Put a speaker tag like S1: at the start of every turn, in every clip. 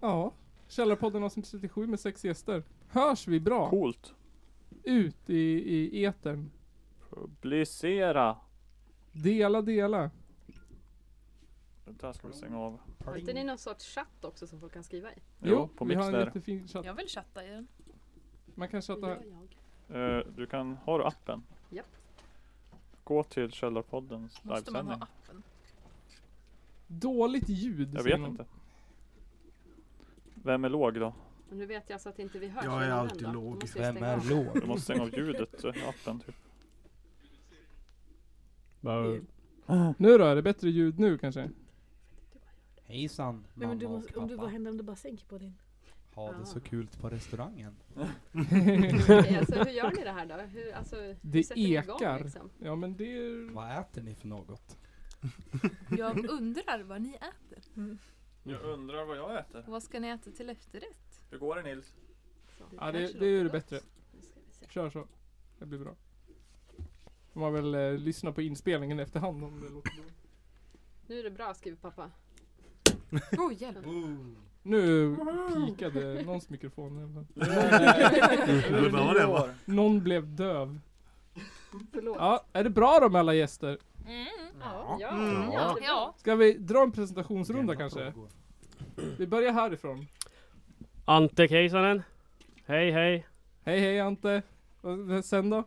S1: Ja, Källarpodden avsnitt 37 med sex gäster. Hörs vi bra?
S2: Coolt.
S1: Ut i, i etern.
S2: Publicera.
S1: Dela, dela.
S2: Det där ska vi stänga av.
S3: Har inte ni någon sorts chatt också som folk kan skriva i?
S2: Jo, på
S1: vi har en
S2: Mixler.
S1: jättefin chatt.
S4: Jag vill chatta i den.
S1: Man kan
S3: Det
S1: chatta.
S3: gör jag.
S2: Eh, du kan, har du appen?
S3: Japp.
S2: Gå till Källarpoddens
S4: Måste man ha
S2: livesändning.
S4: appen?
S1: Dåligt ljud.
S2: Jag
S1: säger
S2: vet
S1: någon.
S2: inte. Vem är låg då?
S3: Och nu vet jag så att inte vi hörs.
S5: Jag är
S3: innan den
S5: alltid
S3: då. Då
S5: låg.
S3: måste vi
S6: Vem
S3: stänga av.
S6: är låg?
S2: Du måste stänga av ljudet i appen typ.
S1: Nu då, är det bättre ljud nu kanske?
S6: Hejsan
S7: Nej, men du
S6: mamma
S7: måste,
S6: och
S7: om du, vad
S6: pappa.
S7: händer om du bara sänker på din?
S6: Ha det så kul på restaurangen.
S3: Okej, alltså, hur gör ni det här då? Hur, alltså, hur
S1: Det
S3: sätter ni igång,
S1: ekar.
S3: Liksom?
S1: Ja men det
S7: Mm.
S1: är...
S6: Vad äter ni för något?
S4: Jag undrar vad ni äter.
S2: Jag undrar vad jag äter.
S4: Vad ska ni äta till efterrätt?
S2: Hur går det Nils?
S3: Så,
S1: Ja
S3: kanske
S1: det, det är ju det
S3: låter
S1: bättre.
S3: gott. Nu ska vi se.
S1: Kör så. Det blir bra. Man väl eh, lyssna på inspelningen efterhand om det låter bra.
S3: Nu är det bra skriver pappa.
S4: Oh, hjälp.
S1: Nu pikade någons mikrofon. i alla fall.
S5: Det var det va?
S1: Någon blev döv.
S3: Förlåt.
S1: Ja, är det bra då med alla gäster?
S3: Ja. Ja.
S5: Mm.
S3: Ja.
S4: Ja,
S1: Ska vi dra en presentationsrunda kanske? Vi börjar härifrån.
S8: Ante Keisanen. Hej hej.
S1: Hej hej Ante. Och eh, Sen då?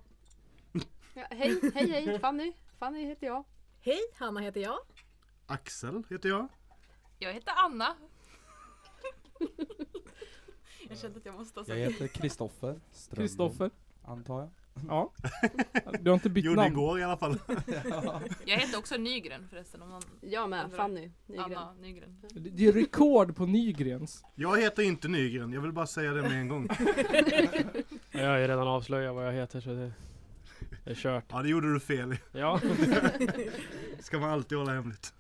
S3: Ja, hej, hej, hej, Fanny. Fanny heter jag.
S7: Hej, Hanna heter jag.
S5: Axel heter jag.
S4: jag heter Anna. jag kände att jag måste ha
S6: Jag
S4: sagt
S6: heter Kristoffer Strömbom,
S1: Kristoffer.
S6: antar jag.
S1: Ja. Du har inte bytt
S5: Gjorde
S1: namn?
S5: igår i alla fall.
S4: Jag heter också Nygren förresten. Om någon...
S3: Jag med,
S4: Undrar.
S3: Fanny Nygren.
S4: Anna Nygren.
S1: Det det är rekord på Nygrens.
S5: Jag heter inte Nygren, jag vill bara säga det med en gång.
S8: Jag har ju redan avslöjat vad jag heter så det det är kört.
S5: Ja, det gjorde du fel i.
S8: Ja.
S5: Ska man alltid hålla hemligt.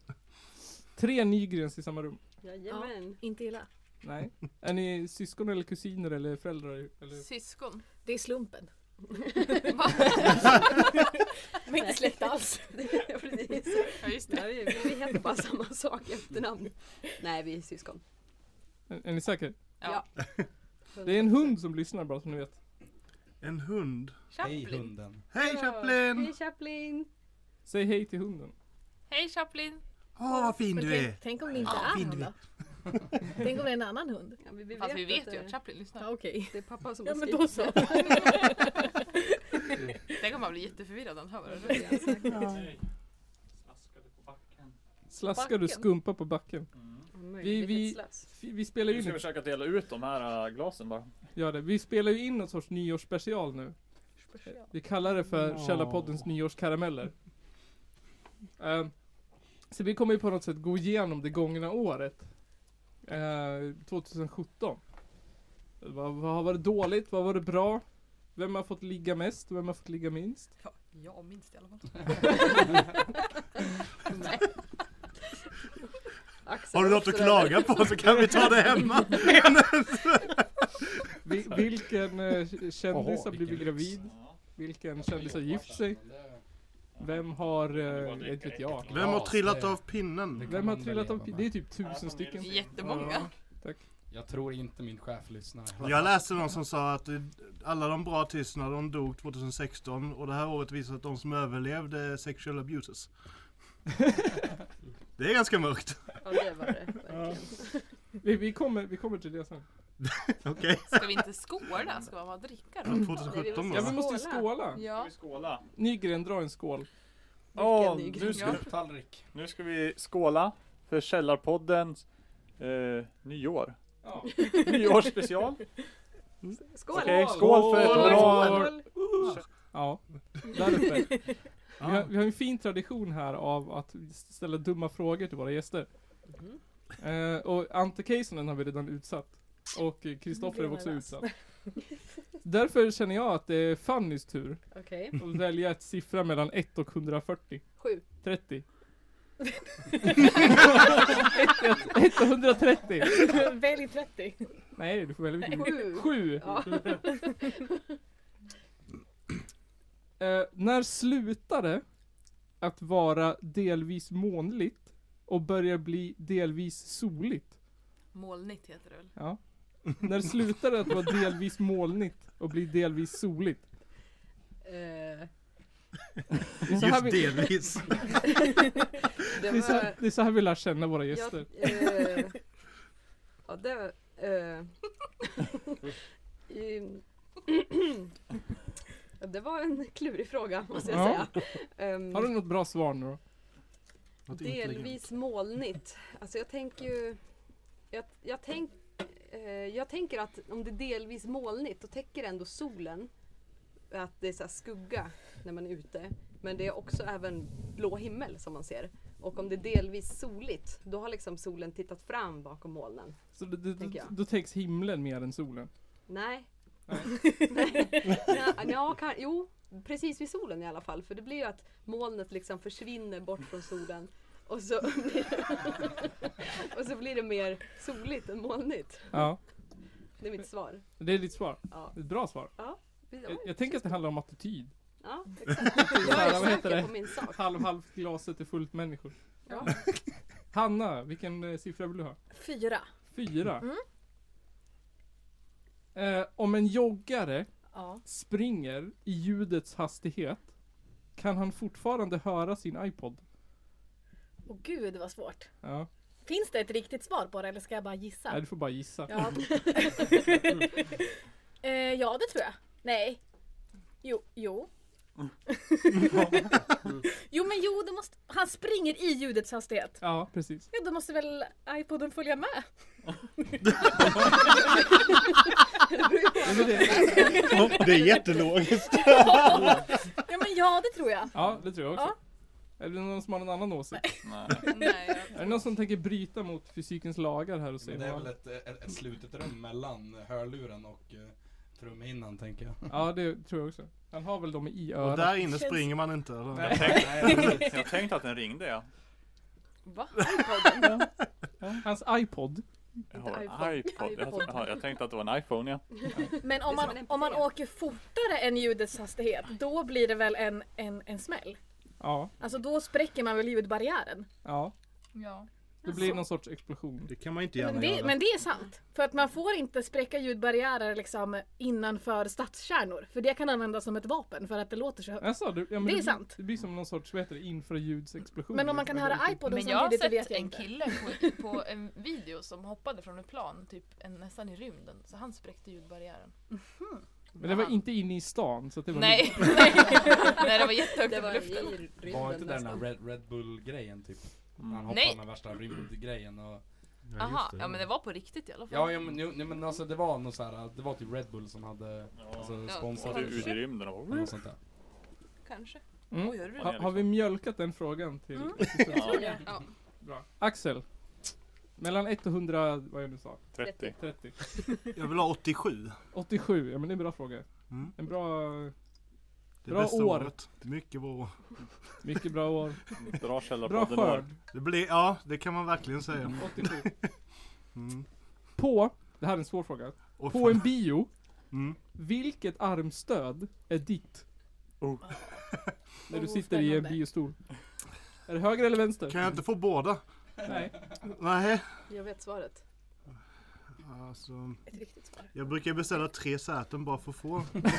S1: Tre Nygrens i samma rum.
S3: Jajamän.
S7: Inte illa.
S1: Nej. Är ni syskon eller kusiner eller föräldrar? Eller?
S4: Syskon.
S7: Det är slumpen.
S4: Va?
S7: Men inte släkt alls.
S3: Ja. precis.
S4: ja, just det.
S3: Ja, vi, vi heter bara samma sak i efternamn. Nej, vi är syskon.
S1: Är, är ni säker?
S4: Ja.
S1: Det är en hund som lyssnar bara som ni vet.
S5: En hund.
S6: Hej
S4: Chaplin.
S6: hunden.
S5: Hej
S3: Hej
S5: Chaplin!
S3: Chaplin!
S1: Säg hej till hunden.
S4: Hej Chaplin.
S5: Åh vad fin
S7: Men
S5: du är!
S7: tänk, tänk om det inte
S5: Ja,
S7: är
S5: fin
S7: han
S5: du
S7: då? Tänk om det är en annan hund?
S3: Ja, vi, vi
S4: Fast vi
S3: att
S4: vet ju
S3: det,
S4: att Chaplin lyssnar.
S7: Ja, okej.
S3: det är pappa som
S7: Ja
S3: har
S7: men
S3: skrivit
S7: då så.
S4: Tänk om man blir jätteförvirrad när han hör vad det är.
S1: Slaskar du
S4: Backen.
S1: skumpa på backen? Vi-
S3: Vi,
S1: vi-
S3: vi...
S1: F- Vi spelar ju
S2: Vi Mm. ska
S1: in,
S2: försöka dela ut de här äh, glasen bara.
S1: gör det. Vi spelar ju in någon sorts nyårsspecial nu. Vi kallar det för Källarpoddens nyårskarameller. Ehm, så vi kommer ju på något sätt gå igenom det gångna året. Eh, 2017. Vad, vad har varit dåligt? Vad var det bra? Vem har fått ligga mest? Vem har fått ligga minst?
S4: Ja, jag minns det i alla fall.
S3: Axel
S5: Har du något att klaga på så kan vi ta det hemma.
S1: Vi, vilken eh, k- kändis
S6: Oho,
S1: har blivit
S6: vilken lyx.
S1: gravid? Vilken kändis har gift sig? Vem har, eh, inte vet jag.
S5: Vem har trillat av pinnen?
S1: Vem har trillat av Det är typ tusen stycken.
S4: Jättemånga.
S6: Jag tror inte min chef lyssnar.
S5: Jag läste någon som sa att eh, alla de bra artisterna de dog 2016 och det här året visar att de som överlevde är sexual abuses. Det är ganska mörkt.
S3: Ja, det var det. verkligen.
S1: Vi, vi, kommer, vi kommer till det sen.
S5: Okej.
S4: Ska vi inte skåla? Ska man bara dricka då?
S5: 2017
S1: Ja, vi
S5: va?
S1: måste ju
S3: Skåla.
S1: skåla.
S4: Ja.
S2: skåla?
S1: Nygren, dra en skål.
S2: Åh,
S3: ny
S2: nu, ska,
S6: Tallrik.
S2: nu ska vi skåla för Källarpoddens eh, nyår.
S1: Ja.
S2: Nyårsspecial.
S3: Skål!
S2: Okej, skål för ett
S1: Skål!
S2: bra...
S1: Ja, där uppe. Vi har, vi har en fin tradition här av att ställa dumma frågor till våra gäster.
S3: Mm.
S1: Eh, och Ante Keisonen har vi redan utsatt. Och eh, Kristoffer är också
S7: Redan
S1: utsatt. Därför känner jag att det är Fannys tur
S3: Okej,
S1: att välja ett siffra mellan 1 och 140.
S3: sju.
S1: 30. 1 och 130.
S7: Välj 30.
S1: Nej, du får välja vilken.
S3: Sju.
S1: Sju.
S3: Ja.
S1: Eh, när slutar det att vara delvis molnigt och börjar bli delvis soligt?
S4: Molnigt heter det väl?
S1: Ja. när slutar det att vara delvis molnigt och bli delvis soligt?
S3: Eh,
S1: Så här
S5: Just
S1: vi-
S5: delvis.
S3: det
S1: Det är, så,
S3: var...
S1: det är så här vi lär känna våra
S3: Jag,
S1: gäster.
S3: eh, ja, det var... Eh, i- Ja, det var en klurig fråga måste jag
S1: Ja.
S3: säga. Ehm,
S1: Har du något bra svar nu då?
S5: Något intelligent.
S3: Delvis molnigt. Alltså jag tänker ju... Jag, jag, tänk, eh, jag tänker att om det är delvis molnigt då täcker ändå solen att det är så här skugga när man är ute. Men det är också även blå himmel som man ser. Och om det är delvis soligt då har liksom solen tittat fram bakom molnen.
S1: Så det, det,
S3: Tänker
S1: det,
S3: jag.
S1: då täcks himlen mer än solen.
S3: Nej. Nej. Nej. Ja, kan, jo, precis vid solen i alla fall. För det blir ju att molnet liksom försvinner bort från solen. Och så, blir det, och så blir det mer soligt än molnigt.
S1: Ja,
S3: Det är mitt svar.
S1: det är ditt svar.
S3: Ja.
S1: Ett bra svar. Jag,
S3: Ja,
S1: jag tänker att det handlar om attityd.
S3: ja exakt. Jag
S1: vad
S3: är
S1: heter
S3: säker
S1: det?
S3: på min sak.
S1: Halv, halv glaset är fullt människor.
S3: Ja.
S1: Hanna, vilken eh, siffra vill du ha?
S7: Fyra.
S1: Fyra. Eh, om en joggare
S7: Ja.
S1: springer i ljudets hastighet kan han fortfarande höra sin iPod?
S7: Åh gud vad svårt.
S1: Ja,
S7: Finns det ett riktigt svar på det eller ska jag bara
S1: Nej,
S7: gissa?
S1: du får bara gissa.
S7: Ja,
S3: Mm.
S7: eh, ja det tror jag. Nej. Jo. Jo.
S3: Mm.
S7: jo men jo, det måste... han springer i ljudets hastighet.
S1: Ja, precis.
S7: Ja, då måste väl iPoden följa med?
S1: Ja, men det,
S5: Det är jättelogiskt.
S7: Ja men ja, det tror jag.
S1: ja, det tror jag också. Är det någon som har någon annan åsikt?
S4: Nej, jag-
S1: Är det någon som tänker bryta mot fysikens lagar här och
S6: Men
S1: säga
S6: det är
S1: vad-
S6: väl ett, ett, ett slutet rum mellan hörluren och eh, trumhinnan tänker jag.
S1: Ja, det tror jag också. Han har väl dem i
S5: Och
S1: örat.
S5: där inne springer man inte. Eller?
S1: Nej.
S2: Jag tänkte, jag tänkte att den ringde ja.
S4: Va?
S1: Hans iPod.
S2: Jag
S3: Inte
S2: har en
S3: iPod.
S2: iPod. Jag, ja, jag tänkte att det var en iPhone ja.
S7: Men om
S3: Det är som
S7: man,
S3: en
S7: om man
S3: MP3.
S7: åker fortare än ljudets hastighet, då blir det väl en, en, en smäll?
S1: Ja,
S7: Alltså då spräcker man väl ljudbarriären?
S1: ja.
S4: Ja.
S1: Det blir någon sorts explosion.
S5: Det kan man inte gärna
S7: Men det,
S5: göra.
S7: men det är sant. För att man får inte spräcka ljudbarriärer liksom innanför stadskärnor. För det kan användas som ett vapen för att det låter så högt.
S1: Alltså, det, ja, men
S7: Det är
S1: blir-
S7: sant.
S1: Det blir som någon sorts, vad heter det, infraljudsexplosion.
S7: Men om man kan höra iPoden
S4: Men jag har
S7: samtidigt, det
S4: sett
S7: vet jag
S4: en
S7: inte.
S4: kille på, på en video som hoppade från ett plan, typ en, nästan i rymden. Så han spräckte ljudbarriären. Mhm.
S1: Men det var inte inne i stan, så att det var
S4: Nej, nej det var jättehögt
S3: Det var
S4: upp i
S3: i
S4: luften.
S3: rymden
S6: Var inte det den där
S3: nästan.
S6: Red, Red Bull-grejen typ? Han hoppade
S4: Nej.
S6: med värsta rymdgrejen och...
S4: Aha, ja men det var på riktigt i alla fall.
S6: Ja, ja men, jo, nej, men alltså det var nog såhär, det var typ Red Bull som hade alltså,
S4: Ja,
S6: sponsrat
S2: Och det är
S6: det.
S2: ut i rymden och
S6: Eller något sånt där.
S4: Kanske.
S1: Mm.
S4: Oj, är det
S1: Ha, har vi mjölkat den frågan till?
S7: Mm.
S2: ja,
S1: Bra. Axel. Mellan 1 och 100, vad jag nu sa,
S2: 30.
S1: 30.
S5: Jag vill ha 87.
S1: 87, ja men det är en bra fråga.
S5: Mm.
S1: En bra,
S5: Det
S1: Bra
S5: bästa
S1: år.
S5: året. Mycket bra år.
S1: mycket bra år.
S2: Bra
S1: Bra
S2: källarpodden
S1: skörd.
S5: Det blir, ja, det kan man verkligen säga.
S1: 87.
S5: Mm.
S1: På, det här är en svår fråga.
S5: Och
S1: På en bio,
S5: Mm.
S1: vilket armstöd är ditt?
S2: Oh.
S1: När du
S7: Oh,
S1: sitter i en
S7: spännande.
S1: biostol. Är det höger eller vänster?
S5: Kan jag inte få båda?
S1: Nej.
S5: Nej.
S3: Jag vet svaret.
S5: Alltså,
S7: Ett riktigt svar.
S5: jag brukar beställa tre säten bara för att få.
S2: Bra.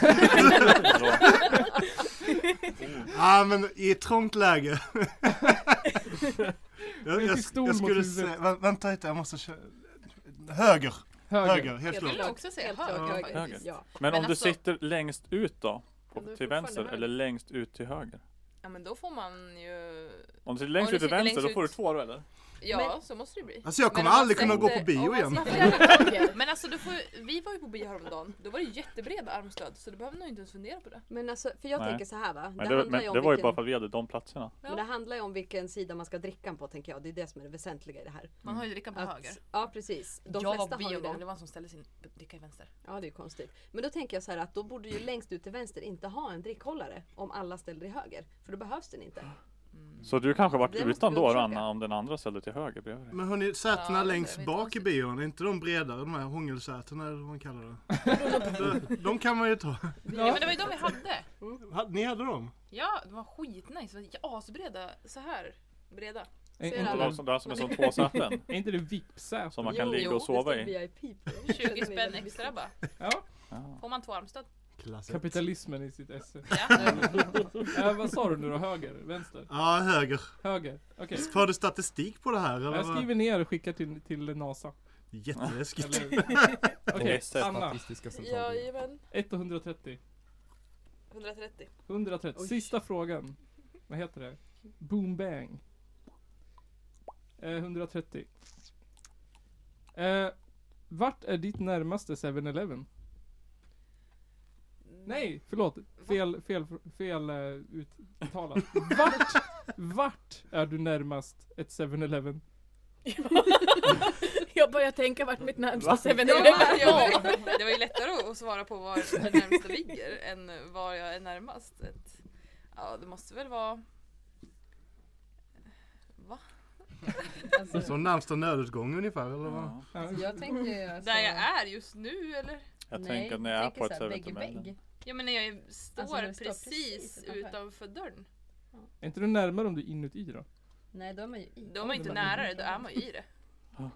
S5: Ja ah, men i ett trångt läge. jag, jag,
S1: pistol
S5: jag
S1: mot
S5: skulle
S1: huvudet.
S5: säga, vä- vänta lite jag måste köra. Höger,
S1: Höger.
S5: höger, helt
S3: Jag
S4: Jag
S5: klart.
S4: vill också säga
S3: Helt
S4: höger
S3: klart
S5: Ja,
S3: höger.
S2: höger.
S3: Ja.
S2: Men
S4: Men
S2: om du
S4: alltså-
S2: sitter längst ut då? På,
S3: Om du är
S2: till vänster
S3: fortfarande
S2: eller längst ut till höger?
S4: Ja men då får man ju...
S2: Om du sitter längst
S4: du
S2: ut till
S4: sitter
S2: vänster
S4: längst
S2: då får du
S4: ut-
S2: två då eller?
S4: Ja,
S3: Men-
S4: så måste det bli.
S5: Alltså jag
S4: Men
S5: kommer
S4: om man
S5: aldrig kunna gå på
S4: sätter- om
S5: bio
S4: man
S5: igen.
S4: sätter-
S7: Höger.
S4: Men alltså, du får, ju- vi var ju på bio häromdagen, då var det ju jättebreda armstöd så du behöver nog inte ens fundera på det.
S3: Men alltså, för jag
S2: Nej.
S3: tänker så här va.
S2: Men det,
S3: handlar ju
S2: men
S3: om
S2: det var ju
S3: vilken-
S2: bara för att vi hade de platserna.
S3: Men det handlar ju om vilken sida man ska dricka den på tänker jag. Det är det som är det väsentliga i det här.
S4: Man har ju drickan på
S3: Att-
S4: höger.
S3: Ja precis. De
S4: jag var
S3: flesta
S4: på bio
S3: har ju
S4: en gång,
S3: det.
S4: det var en som ställde sin dricka i vänster.
S3: Ja det är ju konstigt. Men då tänker jag så här att då borde ju längst ut till vänster inte ha en drickhållare om alla ställer i höger. För då behövs den inte.
S4: Mm.
S2: Så du kanske varit
S3: Det måste
S2: utan
S3: vi
S2: då
S3: undersöka.
S2: Anna om den andra ställde till höger bredvid dig.
S5: Men hörni, sätena
S4: Ja, det
S5: längst
S4: är lite
S5: bak i
S4: konstigt.
S5: bion, är inte de bredare de här hångelsätena eller vad man kallar det? de, de kan man ju ta.
S4: Ja men det var ju de vi hade.
S5: Ha- Ni hade dem?
S4: Ja, de var skitnice. De var Asbreda. Så här breda.
S1: Är
S3: Ser
S1: inte
S3: alla.
S2: De
S1: det-
S2: som, där som är som två säten
S1: är inte det VIP-säte?
S2: som man kan ligga och sova i.
S3: VIP på.
S4: 20 spänn extra bara.
S1: Ja,
S2: Ja.
S4: Får man två armstöd?
S5: Klassiskt.
S1: kapitalismen i sitt esse.
S4: Ja.
S1: Äh, vad sa du nu då? Höger? Vänster?
S5: Ja, höger.
S1: Höger? Okej.
S5: För du statistik på det här eller?
S1: Jag
S5: vad?
S1: skriver ner och skickar till, till NASA.
S5: Jätteläskigt.
S1: Eller- Okej, Anna.
S6: Statistiska centralen.
S4: Jajamän.
S1: 130.
S4: 130.
S1: 130.
S3: Oj.
S1: Sista frågan. Vad heter det? Boom bang. Eh, 130. Eh, vart är ditt närmaste 7-Eleven?
S3: Mm.
S1: Nej, förlåt. Fel, fel, fel eh, uttalat. Vart, vart är du närmast ett 7-Eleven?
S7: Jag börjar tänka vart mitt närmsta 7-Eleven
S4: Ja, ja, men det var ju lättare att- att svara på var den närmsta ligger än var jag är närmast. Ett, ja, det måste väl vara... Va? Alltså,
S5: Som närmsta nödutgång ungefär eller vad?
S2: Ja.
S1: Ja,
S3: Jag tänker alltså,
S4: där jag är just nu eller?
S2: Jag tänker att när jag är på ett
S3: såhär
S2: servett
S3: vägg i vägg.
S4: Ja men när jag är- står,
S9: Alltså, när du står
S4: precis,
S9: precis utanför.
S4: utanför dörren.
S1: Är inte du närmare om du är inuti då?
S9: Nej, då är man ju i.
S4: Då är man inte nära det, då är man ju i det.
S1: Ja.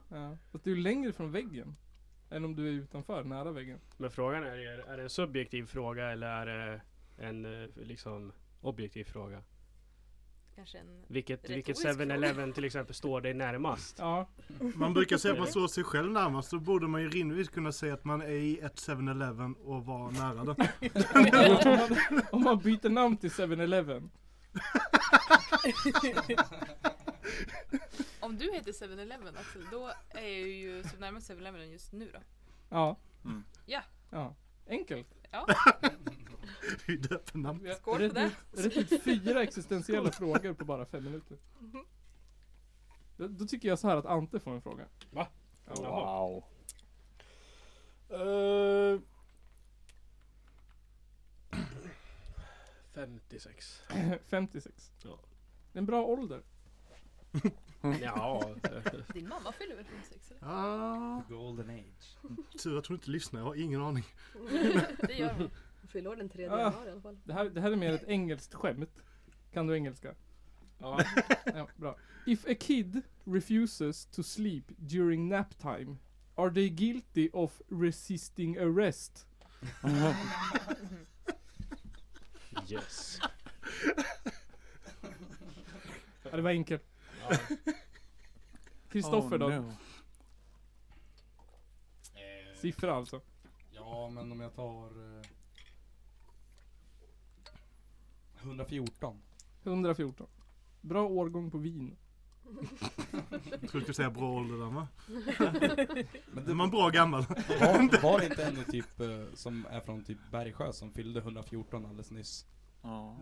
S1: Fast du är längre från väggen. Än om du är utanför, nära väggen.
S8: Men frågan är, är det en subjektiv fråga eller är det en eh, liksom objektiv fråga?
S4: Kanske en...
S8: Vilket, vilket
S4: Retorisk fråga.
S8: 7-Eleven till exempel står dig närmast?
S1: Ja,
S5: Man brukar säga att man står sig själv närmast, då borde man ju rimligtvis kunna säga att man är i ett 7-Eleven och vara nära den.
S1: om, man, om man byter namn till 7-Eleven.
S4: Om du heter 7-Eleven Axel, då är jag ju typ så närmast 7-Eleven än just nu då.
S1: Ja.
S2: Mm.
S4: Ja.
S1: ja. Enkelt.
S5: Det är ju döpa namn.
S1: Vi har
S4: Skål för
S1: rett
S4: det.
S1: ut- Rett ut fyra existentiella frågor på bara fem minuter.
S4: Mhm.
S1: Då, då tycker jag så här att Ante får en fråga.
S8: Va?
S1: Ja.
S2: Wow. Eh,
S8: 56.
S1: 56.
S8: Ja.
S1: Det är en bra ålder.
S8: Ja,
S4: Din mamma fyller väl 56 eller?
S5: Ah,
S6: Golden age.
S5: tur att hon inte lyssnar, jag har ingen aning.
S4: Det gör hon.
S3: Fyller år den 3
S1: Ah.
S3: januari i alla fall.
S1: Det här, det här är mer ett engelskt skämt. Kan du engelska?
S8: ja.
S1: Ja, bra. If a kid refuses to sleep during nap time, are they guilty of resisting arrest?
S8: Yes.
S1: Ja, det var enkelt.
S8: Ja.
S1: Kristoffer då?
S2: no.
S6: Eh,
S1: Siffra alltså.
S6: Ja, men om jag tar... Eh, 114.
S1: 114. Bra årgång på vin.
S5: Jag tror du skulle säga bra ålder där va?
S6: Men
S5: Är
S6: det,
S5: man bra gammal?
S6: var, var det inte en i typ eh, som är från typ Bergsjö som fyllde 114 alldeles nyss?
S2: Ja.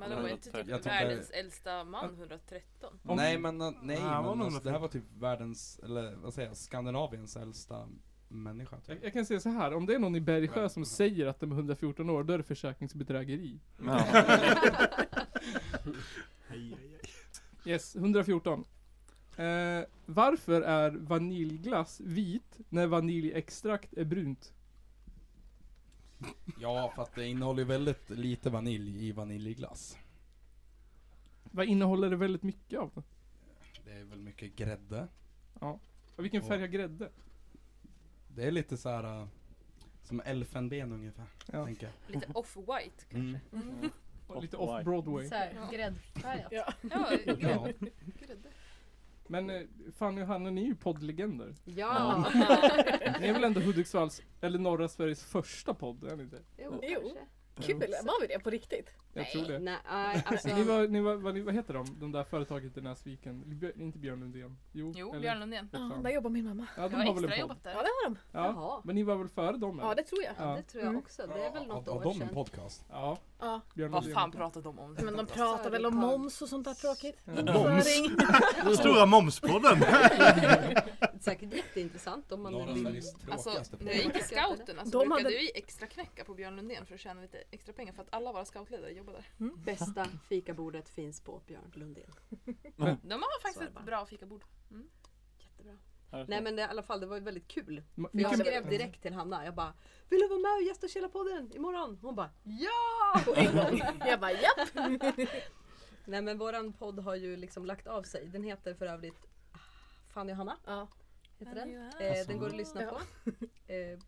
S4: Men då är inte typ
S6: Jag tycker-
S4: världens äldsta man 113.
S1: Om-
S6: nej men, eh, nej,
S5: Ja, var
S6: men
S5: det
S6: alltså, det här
S5: 114?
S6: var typ världens, eller vad säger jag, Skandinaviens äldsta människa. Typ.
S1: Jag, jag kan säga så här, om det är någon i Bergsjö som säger att de är 114 år, då är det försäkringsbedrägeri.
S2: Ja.
S1: Yes, 114. Eh, varför är vaniljglass vit när vaniljextrakt är brunt?
S6: Ja, för att det innehåller ju väldigt lite vanilj i vaniljglass.
S1: Vad innehåller det väldigt mycket av? då?
S6: Det är väl mycket grädde.
S1: Och vilken färg har grädde?
S6: Det är lite så här eh, som elfenben ungefär,
S1: Ja.
S6: tänker jag.
S4: Lite off-white kanske.
S6: Mm.
S1: Och lite off-Broadway.
S9: Såhär gräddfärgat.
S4: Ja,
S6: Ja.
S4: grädde.
S1: Men eh, Fanny och Hanna, ni är ju poddlegender.
S3: Ja,
S1: Ni är väl ändå Hudiksvalls, eller norra Sveriges första podd? Är ni inte?
S3: jo,
S7: Jo.
S3: kanske.
S7: Kul, var vi det på riktigt?
S1: Jag tror det.
S3: Nej, nej, alltså.
S1: Ni var, ni var, vad, ni- vad heter de, de där företaget i Näsviken? Björ, inte Björn Lundén? Jo,
S4: Jo,
S1: eller-
S4: Björn Lundén.
S7: Ja,
S1: Vad fan.
S7: där jobbar min mamma.
S1: Ja, de
S4: Jag
S1: har
S4: har
S1: väl
S4: extra
S1: en podd?
S4: jobbat
S7: Ja,
S4: där.
S7: det har de.
S1: Ja,
S3: Jaha.
S1: men ni var väl före dem? eller?
S7: Ja, det tror jag.
S1: Ja.
S3: Ja, det tror jag
S7: Mm.
S3: också. Det är väl något
S6: har,
S3: år
S6: har de en
S3: sedan.
S6: podcast?
S1: ja
S7: Ja.
S1: Björn
S4: Vad
S1: Lundén.
S4: fan pratar de om?
S7: Men de pratar väl om moms och sånt där tråkigt?
S1: Ja.
S5: Moms?
S7: Föring.
S5: Stora momspodden!
S3: säkert jätteintressant om man
S6: Norra
S3: vill.
S6: Sveriges tråkigaste
S4: Alltså, när
S6: podd.
S4: jag gick i scouterna så
S7: De
S4: brukade
S7: hade-
S4: vi extra knäcka på Björn Lundén för att tjäna lite extra pengar för att alla våra scoutledare jobbade där.
S3: Bästa fikabordet finns på Björn Lundén.
S4: De har faktiskt
S3: Så är det
S4: ett
S3: bara.
S4: bra fikabord.
S3: Jättebra.
S2: Här.
S3: Nej men det, i alla fall, det var väldigt kul.
S1: Ma- Mm.
S3: För jag
S1: mycket-
S3: skrev direkt till Hanna, jag bara Vill du vara med och gästa Källarpodden imorgon? Hon bara Ja! På en gång.
S7: Jag bara japp!
S3: Nej men våran podd har ju liksom lagt av sig. Den heter för övrigt ah, Fanny och Hanna.
S7: Ja.
S3: Heter
S4: Fanny och
S3: den.
S4: Hanna.
S1: Alltså.
S3: Eh, den går att lyssna på. Eh,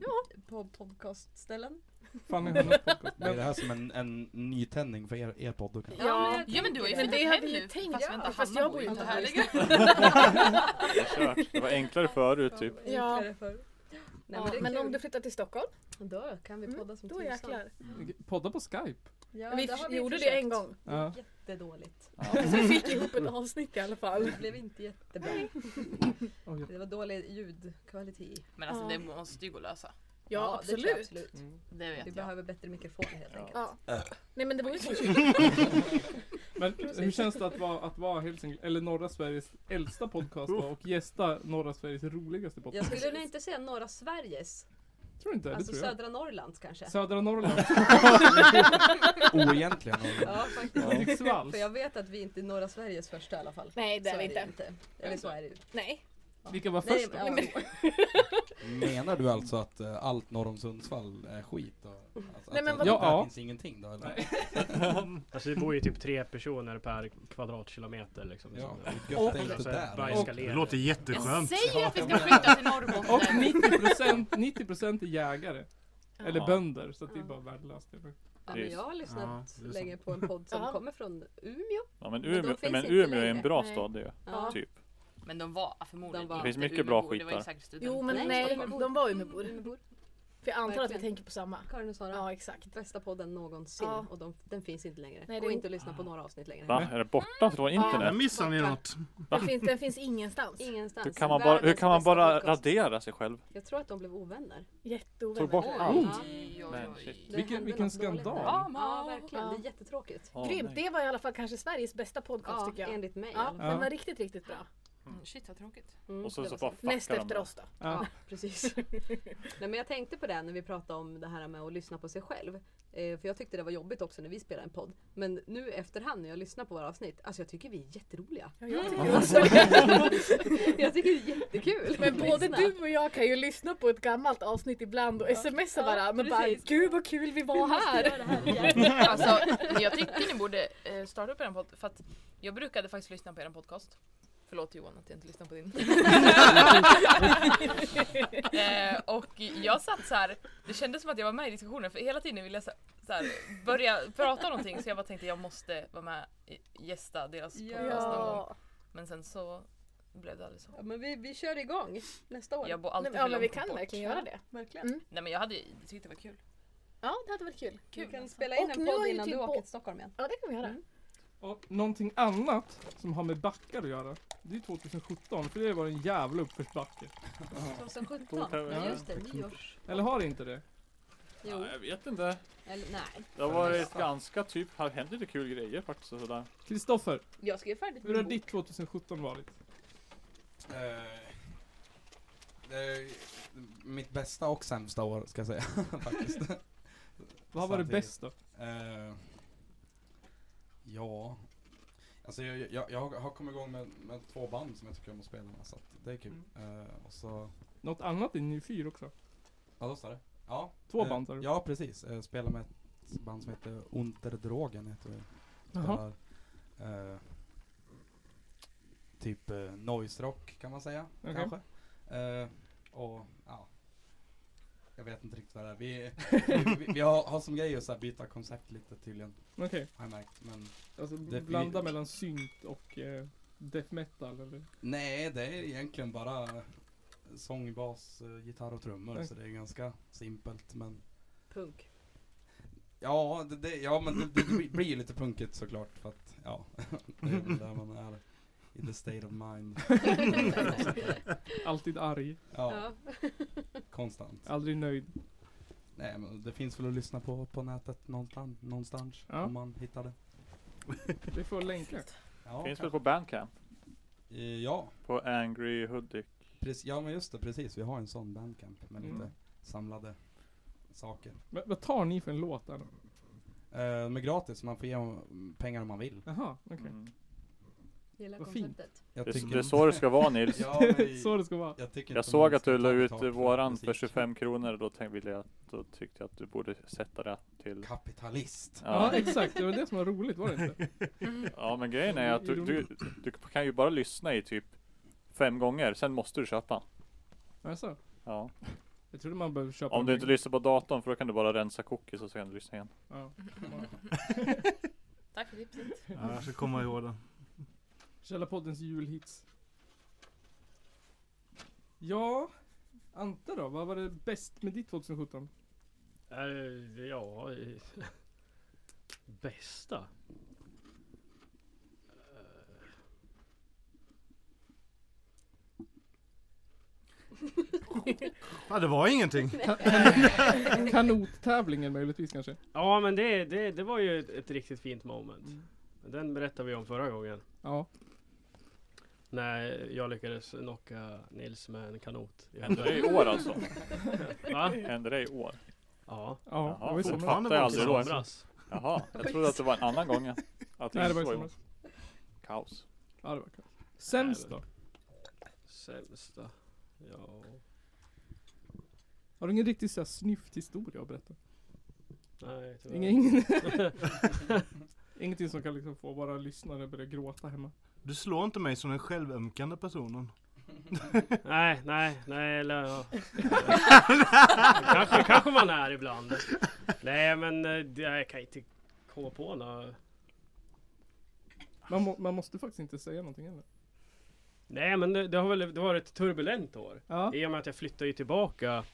S7: Ja.
S3: På podcastställen.
S1: Fanny har något podcast.
S6: Det är det
S1: Men
S6: här som en, en nytändning för er, er podd då kanske?
S7: Ja, men jag
S4: Ja men du har ju
S7: Men
S4: flyttat
S7: det hade
S4: hem
S7: ju
S4: nu.
S7: tänkt
S4: Fast
S7: jag,
S4: vänta,
S7: fast
S4: Hanna
S7: jag
S4: bor
S7: bor
S4: ju
S7: inte
S4: inte
S7: här
S4: här
S7: längre.
S4: längre.
S2: Det är kört. Det var enklare förut typ.
S7: Ja.
S3: Enklare förr. Nej, men det är
S7: Men om
S3: kul.
S7: du flyttar till Stockholm,
S3: Då kan vi
S7: Mm,
S3: podda som
S7: då
S3: tusan.
S7: jäklar.
S1: podda på Skype.
S3: Ja,
S7: vi
S3: det har vi
S7: gjorde det
S3: försökt.
S7: en gång.
S1: Ja.
S3: Jättedåligt.
S7: Vi fick ihop ett avsnitt i alla fall.
S3: Det blev inte jättebra.
S1: Oj.
S3: Det var dålig ljudkvalitet.
S4: Men alltså
S7: Ja.
S4: det måste ju gå att lösa.
S7: Ja,
S3: det tror jag
S7: absolut.
S3: absolut.
S1: Mm.
S4: Det
S3: Vi
S4: vet jag.
S3: behöver bättre mikrofoner helt enkelt.
S7: Ja. Nej men det var ju så.
S1: Men hur känns det att vara, att vara Hälsingland, eller norra Sveriges äldsta podcast då, och gästa norra Sveriges roligaste
S3: Jag
S1: podcast?
S3: skulle nog inte säga norra Sveriges.
S1: Tror inte? Det
S3: Alltså
S1: tror jag.
S3: södra Norrlands kanske.
S1: Södra Norrland,
S6: Oegentligen.
S3: Ja, faktiskt.
S1: Hudiksvalls.
S3: För jag vet att vi inte är norra Sveriges första i alla fall.
S7: Nej det
S3: Så
S7: är vi inte.
S3: Eller så är det ju.
S7: Nej.
S1: Vilka var
S3: Nej,
S1: först då?
S3: men, ja.
S6: Menar du alltså att eh, allt norr om Sundsvall är skit? Och, alltså,
S7: Nej, men
S6: att
S7: vad-
S6: det
S1: Ja,
S6: där
S1: ja.
S6: finns ingenting då eller?
S8: Alltså det bor ju typ tre personer per kvadratkilometer liksom.
S6: Ja,
S8: Så-
S6: gött är inte
S3: Alltså,
S8: så
S6: där.
S8: här,
S6: eller?
S8: bajskalerer.
S5: Det låter
S4: Jag
S5: jätteskönt.
S4: säger att vi ska flytta till Norrbotten.
S1: Och 90%, 90% är jägare. Eller
S2: Ja.
S1: bönder, så att det är
S3: Ja.
S1: bara värdelöst.
S3: Ja, men jag har
S5: Ja,
S3: lyssnat
S5: det är sant.
S3: länge på en podd som
S7: Ja.
S3: kommer från Umeå.
S2: Ja, men
S3: Men de
S2: Umeå,
S3: finns
S2: men
S3: inte
S2: Umeå är en
S3: längre.
S2: bra
S7: Nej.
S2: stad det är,
S3: Ja.
S2: typ.
S4: Men de var förmodligen
S3: De var-
S2: Det finns
S4: inte
S2: mycket bra
S4: Umeåbor, Det var ju
S2: skitar.
S4: säkert studenter.
S7: Jo men nej,
S3: Stockholmsbor.
S7: de var Umeåbor.
S3: Umeåbor.
S7: För jag antar att vi
S3: Verkligen.
S7: tänker på samma.
S3: Karin och Sara.
S7: Ja exakt.
S3: Bästa podden någonsin.
S7: Ja.
S3: Och de, den finns inte längre.
S7: Nej, det
S3: Gå
S7: är-
S3: inte och lyssna på några avsnitt längre.
S2: Va? Är det borta från
S5: Där
S2: internet?
S5: missar ni
S3: Borta.
S5: något.
S7: Den finns, den finns ingenstans.
S3: Ingenstans.
S2: Hur kan man bara, hur
S3: alltså, Världens
S2: kan man
S3: bästa
S2: bara
S3: podcast.
S2: radera sig själv?
S3: Jag tror att de blev ovänner.
S2: Tog
S7: Jätteovänner.
S2: bort allt?
S4: Oj, oj,
S2: Men
S4: oj.
S2: shit.
S3: Det
S1: Vilken-
S3: hände
S1: vilken
S3: något dåligt
S1: skandal.
S3: där.
S4: Ja,
S3: Ja,
S4: men-
S3: verkligen.
S7: Ja.
S3: Det är jättetråkigt.
S2: Ja,
S7: Grymt!
S2: nej.
S7: Det var i alla fall kanske Sveriges bästa podcast
S3: Ja,
S7: tycker jag.
S3: enligt mig. i
S7: Ja,
S3: alla fall.
S7: den var riktigt, riktigt bra.
S4: Mm, Shit vad tråkigt.
S3: Mm,
S2: Och
S3: det
S2: sen så
S3: var
S2: bara
S3: sant.
S7: Näst
S2: fuckar de
S7: efter
S2: det.
S7: oss då.
S3: Ja, precis. Nej, men jag tänkte på det när vi pratade om det här med att lyssna på sig själv. Eh, för jag tyckte det var jobbigt också när vi spelade en podd. Men nu efterhand när jag lyssnar på våra avsnitt, alltså jag tycker vi är jätteroliga. Mm.
S7: Ja, jag tycker
S3: Jag tycker det är jättekul.
S7: Men
S3: att
S7: både
S3: lyssna.
S7: du och jag kan ju lyssna på ett gammalt avsnitt ibland och smsa varandra och bara
S3: precis.
S7: Gud vad kul vi var här!
S4: Alltså, jag tycker ni borde eh, starta upp er podd för att jag brukade faktiskt lyssna på er podcast. Förlåt Johan att jag inte lyssnar på din. eh, och jag satt så här, det kändes som att jag var med i diskussionen för hela tiden ville jag så så här, börja prata om någonting så jag bara tänkte jag måste vara med i- gästa deras
S3: Ja.
S4: podcast någon gång. Men sen så blev det aldrig så.
S3: Ja, men vi, vi kör igång nästa år.
S4: Jag bor
S7: Nej,
S4: alltid
S7: men, ja
S4: för
S7: men vi
S4: långt
S7: kan
S4: bort.
S7: verkligen göra det.
S3: Verkligen.
S7: Mm.
S4: Nej men jag hade ju tyckt det var kul.
S7: Ja det hade varit kul.
S3: Vi kan
S4: alltså.
S3: spela in
S7: Och
S3: en
S7: nu har
S3: podd
S7: ju
S3: innan
S7: typ
S3: du åker
S7: bo-
S3: till Stockholm igen.
S7: Ja det kan vi göra.
S3: Mm.
S1: Och någonting annat som har med backar att göra. Det är 2017, för det var en jävla uppförsbacke.
S3: 2017. Ja, just det. Nyårs...
S1: Eller har det inte det?
S3: Jo.
S2: Ja, Jag vet inte.
S3: Eller nej.
S2: Det har varit ganska typ, här händer lite kul grejer faktiskt och sådär.
S1: Kristoffer,
S4: Jag skrev färdigt
S1: hur har
S4: min bok.
S1: ditt 2017 varit?
S3: liksom.
S6: Eh, det är mitt bästa och sämsta år ska jag säga faktiskt.
S1: Vad var det
S6: Samtidigt.
S1: bäst då?
S6: Eh, ja, alltså jag, jag, jag har kommit igång med, med två band som jag tycker om att spela med så att det är kul. Eh, och så,
S1: Något annat i ny fyr också?
S6: ja då står det. Ja,
S1: Två
S6: eh,
S1: band har du?
S6: Ja precis, eh, spelar med ett band som heter Unterdrogen heter det.
S1: Jaha.
S6: Spelar, eh, typ eh, noise rock kan man säga
S1: Okej.
S6: kanske. Eh, och ja, jag vet inte riktigt vad det är. Vi, vi, vi har, har som grej att så här byta koncept lite tydligen
S1: Okej.
S6: har jag märkt. Men
S1: Alltså
S6: Det-
S1: blanda
S6: vi-
S1: mellan synt och eh, death metal eller?
S6: nej, det är egentligen bara sång, bas, eh, gitarr och trummor
S1: Okej.
S6: så det är ganska simpelt. Men
S3: Punk.
S6: Ja, det, det, ja men det, det blir ju lite punkigt såklart för att, ja, det är väl där man är i the state of mind.
S1: Alltid arg,
S6: Ja,
S3: Ja.
S6: konstant.
S1: aldrig nöjd.
S6: Nej men det finns väl att lyssna på på nätet någonstans, någonstans
S1: Ja.
S6: om man hittar det.
S1: Vi får länka.
S2: Finns väl
S6: Ja, kanske.
S2: på Bandcamp?
S6: Eh, Ja,
S2: På Angry Hudik.
S6: precis, ja men just det, precis. Vi har en sån bandcamp med
S1: Mm.
S6: lite samlade saker.
S1: Men vad tar ni för en låt där då?
S6: Eh, De är gratis, man får ge dem pengar om man vill.
S1: Jaha, okej.
S2: Mm.
S10: Gillar
S1: Vad fint.
S10: konceptet.
S6: Jag
S2: Det,
S6: tycker
S2: det är
S6: inte-
S2: så det ska vara Nils.
S6: Ja, men vi-
S1: Så det ska vara.
S6: jag, tycker
S2: Jag
S6: inte
S2: såg
S6: man
S2: att
S6: ska
S2: du la
S6: ta
S2: ut
S6: betalt för
S2: våran för
S6: musik.
S2: 25 kronor och då tänkte ville jag att då tyckte jag att du borde sätta det till
S6: Kapitalist.
S1: Ja,
S2: Ja,
S1: exakt. Det var det som var roligt, var det inte?
S2: ja men grejen Mm. är att du, du, du kan ju bara lyssna i typ fem gånger, sen måste du köpa.
S1: Alltså,
S2: Ja.
S1: jag trodde man behövde köpa
S2: Om du
S1: en-
S2: inte lyssnar på datorn för då kan du bara rensa cookies och så kan du lyssna igen.
S1: ja.
S11: Tack för tipset.
S5: Ja, jag ska komma ihåg den.
S1: Källarpoddens julhits. Ja, Ante då? Vad var det bäst med ditt 2017?
S8: Eh, ja... eh, Bästa? Eh,
S5: Ja, det var ingenting.
S1: Kanottävlingen möjligtvis kanske?
S8: Ja men det, det, det var ju ett, ett riktigt fint moment. Den berättade vi om förra gången.
S1: Ja.
S8: När jag lyckades knocka Nils med en kanot. i
S2: Händer
S8: huvudet.
S2: det i år alltså?
S8: Va?
S2: Händer det i år?
S8: Ja.
S1: Ja,
S2: Jaha,
S1: det var i somras.
S2: fortfarande fattar jag
S8: I
S2: aldrig då.
S8: somras.
S2: Jaha, jag trodde att det var en annan gång. Att
S1: Nej, det var i
S2: inte i år.
S1: somras.
S2: Kaos.
S1: Ja, det var kul. Sämst då?
S8: Sämsta. Ja.
S1: Har du ingen riktigt så här snyft historia att berätta?
S8: Nej tyvärr.
S1: Ingen, ingen Ingenting som kan liksom få våra lyssnare att börja gråta hemma.
S5: Du slår inte mig som den självömkande personen.
S8: Nej, nej, nej eller ja. kanske, kanske man är ibland. Nej men eh, det- jag kan inte komma på något.
S1: Man, må, man måste faktiskt inte säga någonting heller.
S8: Nej men det, det har väl det har varit ett turbulent år.
S1: Ja.
S8: I och med att jag flyttade ju tillbaka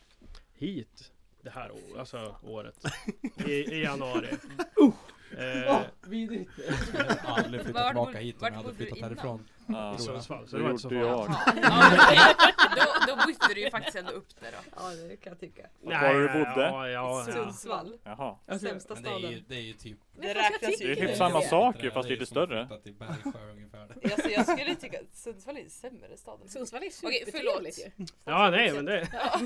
S8: hit det här å- alltså, året. I, I januari. Eh,
S1: Vidrigt.
S6: Jag hade aldrig flyttat
S11: Vart bor-
S6: tillbaka hit om
S11: vart
S6: jag hade
S11: bodde du
S6: flyttat
S11: innan?
S6: härifrån.
S2: Ja,
S8: I Sundsvall. Så
S2: det
S8: det var inte så
S2: gjorde
S8: farligt.
S2: jag.
S11: Ja, men det- då, då bytte du ju faktiskt ändå upp det då.
S3: Ja, det kan jag tycka.
S2: Var var du
S8: nej,
S2: bodde?
S8: Ja, ja, ja.
S3: Sundsvall,
S2: Jaha.
S3: sämsta
S6: Men det är ju,
S3: staden.
S6: det är ju typ...
S3: Det räknas
S2: Det är
S6: det
S2: typ
S6: är
S2: samma
S6: ju
S2: sak
S6: lite-
S2: ju, fast
S6: det är
S2: lite
S6: som att
S2: större.
S6: flytta till Bergsjö ungefär.
S11: Alltså, jag skulle tycka att Sundsvall är sämre staden.
S12: Sundsvall är
S11: Okej,
S12: supertrevligt ju.
S11: förlåt.
S8: ja, nej men det,
S11: Ja.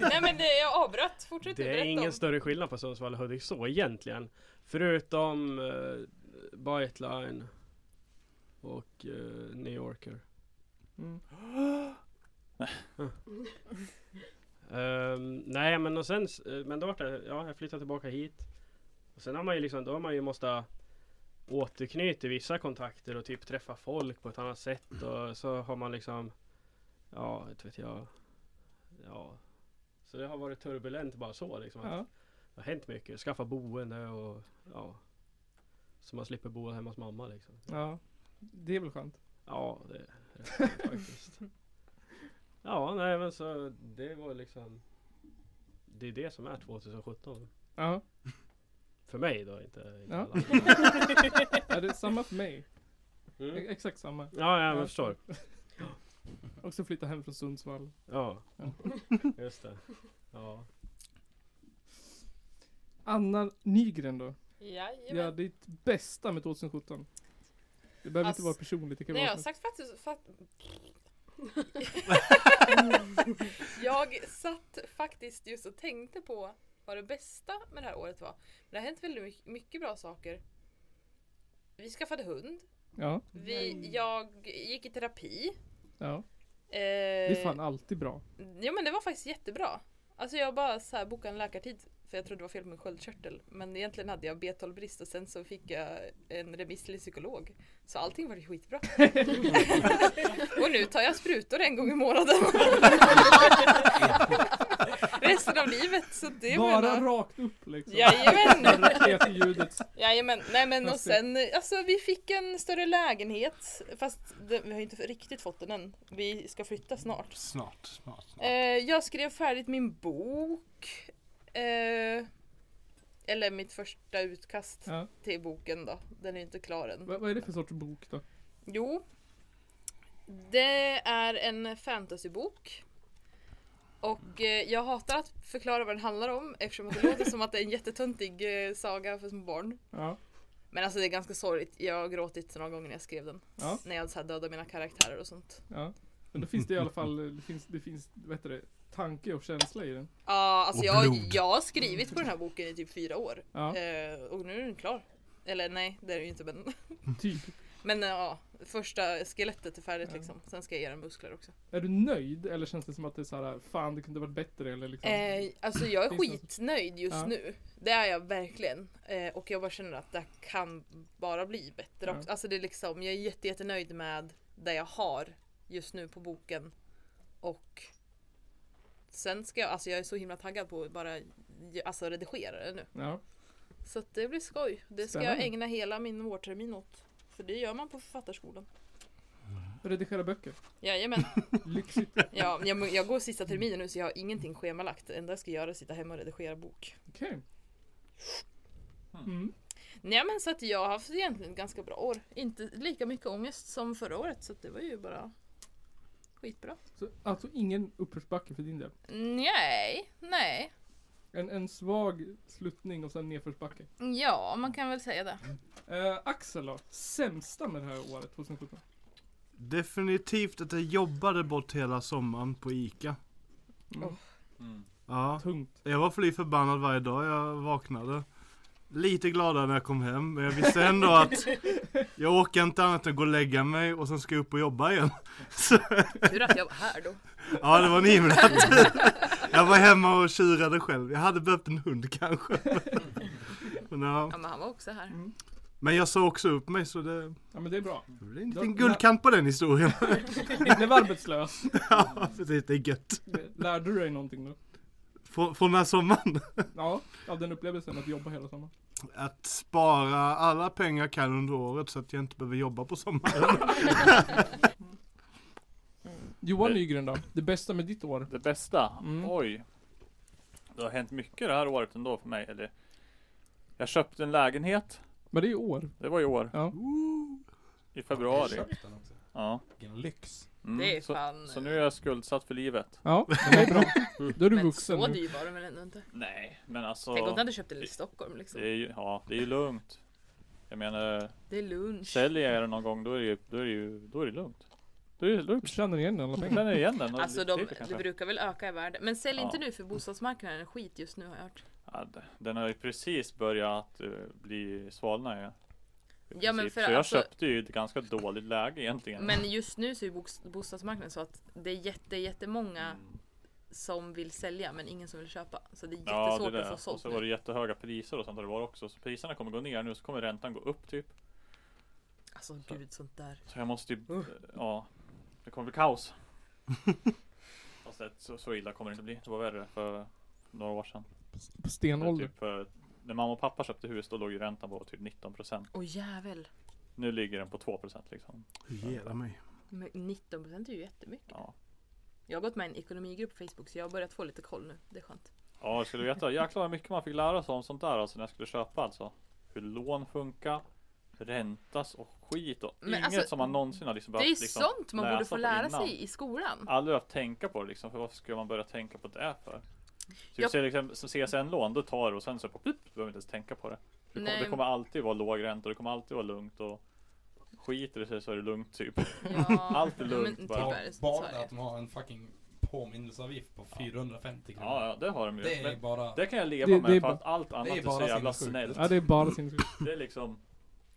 S11: Nej men det, jag avbröt, fortsätt
S8: det är
S11: berätta
S8: ingen
S11: om.
S8: större skillnad på Sundsvall och Hudik så egentligen. Förutom uh, Byteline och eh, New Yorker.
S1: Mm.
S8: Ehm, nej men och sen, s- eh, men då vart det, ja jag flyttade tillbaka hit. Och sen har man ju liksom, då har man ju måste återknyta till vissa kontakter och typ träffa folk på ett annat sätt och så har man liksom, ja inte vet jag. Ja. Så det har varit turbulent bara så liksom. att
S1: Ja.
S8: Det har hänt mycket, skaffa boende och ja. Så man slipper bo hemma hos mamma liksom.
S1: ja. Det är väl skönt.
S8: Ja, det är rätt skönt faktiskt. Ja, nej men så det var liksom Det är det som är 2017
S1: Ja.
S8: För mig då, inte inte
S1: Ja.
S8: alla andra.
S1: ja det är samma för mig. E-
S8: mm.
S1: Exakt samma.
S8: Ja, ja, men jag förstår
S1: Också flytta hem från Sundsvall.
S8: Ja,
S1: Ja.
S8: just det Ja,
S1: Anna Nygren då? Ja,
S11: Jajamän.
S1: ditt bästa med 2017. Det behöver
S11: Alltså,
S1: inte vara personligt. Det kan
S11: Nej
S1: vara
S11: jag har
S1: som-
S11: sagt faktiskt... Fatt... jag satt faktiskt just och tänkte på vad det bästa med det här året var. Men det har hänt väldigt mycket, mycket bra saker. Vi skaffade hund.
S1: Ja.
S11: Vi, jag gick i terapi.
S1: ja.
S11: Eh,
S1: Det är fan alltid bra.
S11: Ja men det var faktiskt jättebra. Alltså jag bara så här bokade en läkartid för jag trodde det var fel på min sköldkörtel. Men egentligen hade jag B12-brist och sen så fick jag en remiss till psykolog. Så allting var ju skitbra. och nu tar jag sprutor en gång i månaden. Resten av livet. Så det
S1: Bara
S11: menar-
S1: rakt upp liksom.
S11: Jajamän!
S1: Raketljudet.
S11: Jajamän, nej men och
S1: Fast det-
S11: sen, alltså vi fick en större lägenhet fast det, vi har ju inte riktigt fått den än. Vi ska flytta snart.
S5: Snart, snart, snart.
S11: Eh, jag skrev färdigt min bok. Eh, eller mitt första utkast
S1: Ja.
S11: till boken då. Den är ju inte klar än.
S1: Vad, vad är det för sorts bok då?
S11: Jo. Det är en fantasybok. Och eh, jag hatar att förklara vad den handlar om eftersom att det låter som att det är en jättetöntig eh, saga för små barn.
S1: Ja.
S11: Men alltså det är ganska sorgligt. Jag har gråtit några gånger när jag skrev den.
S1: Ja.
S11: När jag så här dödade mina karaktärer och sånt.
S1: Ja. Men då finns det i alla fall, eh, det finns, det finns vad heter det, tanke och känsla i den.
S11: Ja, alltså
S5: Och
S11: jag,
S5: blod.
S11: jag har skrivit på den här boken i typ fyra år.
S1: Ja,
S11: Eh, och nu är den klar. Eller nej, det är den ju inte men.
S1: typ.
S11: Men eh, ja, första skelettet är färdigt
S1: Ja.
S11: liksom. Sen ska jag ge den muskler också.
S1: Är du nöjd eller känns det som att det är så här, fan det kunde varit bättre eller liksom?
S11: Eh, alltså jag är
S1: Finns det-
S11: skitnöjd just
S1: Ja.
S11: nu. Det är jag verkligen. Eh, och jag bara känner att det kan bara bli bättre
S1: Ja.
S11: också. Alltså det är liksom, jag är jätte, jättenöjd med det jag har just nu på boken. Och sen ska jag, alltså jag är så himla taggad på att bara alltså redigera det nu.
S1: Ja.
S11: Så att det blir skoj. Det ska
S1: Spännande.
S11: jag ägna hela min vårtermin åt. För det gör man på författarskolan.
S1: Redigera böcker.
S11: Jajamän.
S1: Lyxigt.
S11: Ja, jag, jag går sista terminen nu så jag har ingenting schemalagt. Det enda jag ska göra är att sitta hemma och redigera bok.
S1: Okej. Mm.
S11: Nej men så att jag har haft egentligen ett ganska bra år. Inte lika mycket ångest som förra året så att det var ju bara skitbra.
S1: Så, alltså ingen uppförsbacke för din del.
S11: Nej, nej.
S1: En, en svag sluttning och sen nedförsbacke.
S11: Ja, man kan väl säga det.
S1: Eh, Axel då? Sämsta med det här året 2017?
S5: Definitivt att jag jobbade bort hela sommaren på ICA.
S1: Mm.
S11: Åh.
S2: Mm.
S5: Ja,
S1: Tungt.
S5: jag var fly förbannad varje dag jag vaknade. Lite gladare när jag kom hem, men jag visste ändå att jag orkar inte annat än gå och lägga mig och sen ska jag upp och jobba igen. Så,
S11: Tur att jag var här då.
S5: ja, det var en himla tur. Jag var hemma och tjurade själv. Jag hade behövt en hund kanske. Men, ja.
S11: Ja men han var också här.
S5: men jag sa också upp mig så det,
S1: Mm. Ja men det är bra.
S5: det blir en liten guldkant på den historien.
S1: Du blev arbetslös.
S5: Ja, precis. Det är gött.
S1: Lärde du dig någonting då?
S5: Frå- Från den här sommaren.
S1: Ja, av den upplevelsen att jobba hela sommaren.
S5: Att spara alla pengar jag kan under året så att jag inte behöver jobba på sommaren.
S1: Johan
S2: Nej.
S1: Nygren då? Det bästa med ditt år?
S2: Det bästa?
S1: Mm.
S2: Oj. Det har hänt mycket det här året ändå för mig. Eller, jag köpte en lägenhet.
S1: Men det är ju år.
S2: Det var i år.
S1: Ja.
S2: I februari.
S6: Jag köpte den också.
S2: Ja.
S6: Vilken lyx.
S2: Mm.
S11: Det är
S2: så,
S11: fan... eh,
S2: så nu är jag skuldsatt för livet.
S1: Ja, men det är bra. Då är du
S11: men
S1: vuxen
S11: så
S1: nu.
S11: dyr var den väl ändå inte?
S2: Nej, men alltså.
S11: Tänk om du hade köpt den i Stockholm liksom.
S2: Det är ju, ja, det är ju lugnt. Jag menar,
S11: Det är lunch.
S2: säljer jag den någon gång då är det ju, då är det ju, då är det lugnt. Då är det, då är
S1: Du
S2: det
S1: känner igen alla
S2: jag
S1: pengar.
S2: känner igen den. och
S11: Alltså
S2: lite
S11: de,
S2: till kanske.
S11: det brukar väl öka i värde. Men sälj
S2: Ja.
S11: inte nu för bostadsmarknaden är skit just nu har jag hört.
S2: Ja, d- den har ju precis börjat att eh, bli svalna ju. I
S11: Ja, men
S2: princip.
S11: för
S2: så jag
S11: alltså-
S2: köpte ju ett ganska dåligt läge egentligen.
S11: Men just nu så är ju boks- bostadsmarknaden så att det är jätte, jättemånga
S2: Mm.
S11: som vill sälja men ingen som vill köpa. Så det är
S2: Ja, det
S11: jättesvårt
S2: där.
S11: att få
S2: Och
S11: sålt
S2: så var det
S11: nu.
S2: jättehöga priser och sånt har det var också. Så priserna kommer gå ner nu så kommer räntan gå upp typ.
S11: Alltså gud sånt där.
S2: Så jag måste ju, ja. Det kommer bli kaos. Fast det, så, så illa kommer det inte bli. Det var värre för några år sedan.
S1: På
S2: För
S1: stenålder.
S2: typ, för, när mamma och pappa köpte hus då låg ju räntan på typ 19%.
S11: Åh jävel.
S2: Nu ligger den på 2% liksom.
S5: Ge mig.
S11: Men 19% är ju jättemycket.
S2: Ja.
S11: Jag har gått med i en ekonomigrupp på Facebook så jag har börjat få lite koll nu. Det är skönt.
S2: Ja, jag skulle veta. Jäklar vad mycket man fick lära sig om sånt där alltså när jag skulle köpa alltså. Hur lån funkar, räntas och skit och
S11: Men
S2: inget
S11: alltså,
S2: som man någonsin har liksom
S11: det är ju
S2: behövt liksom
S11: sånt man borde
S2: läsa
S11: få
S2: på
S11: lära
S2: innan.
S11: sig i skolan.
S2: Aldrig behövt tänka på det liksom, för varför skulle man börja tänka på det för? Typ
S11: Ja.
S2: ser liksom, som CSN-lån, då tar du och sen så plupp, du behöver inte ens tänka på det. Det kommer,
S11: Nej.
S2: det kommer alltid vara låg ränta, det kommer alltid vara lugnt och skiter det sig så är det lugnt typ.
S11: Ja.
S2: Allt är lugnt
S11: men,
S2: bara.
S11: typ
S2: Ja,
S11: är det, så
S6: Bara
S11: är
S6: det att
S11: det.
S6: de har en fucking påminnelseavgift på 450 kronor.
S2: Ja, ja det har de ju.
S6: Det är
S2: Men
S6: bara...
S2: det kan jag leva
S1: Det-
S2: med
S1: det är
S2: för
S1: ba-
S2: att allt annat är,
S6: bara
S2: så jävla
S6: sinnessjukt.
S2: snällt.
S1: Ja, det är bara sinnessjukt.
S2: Det är liksom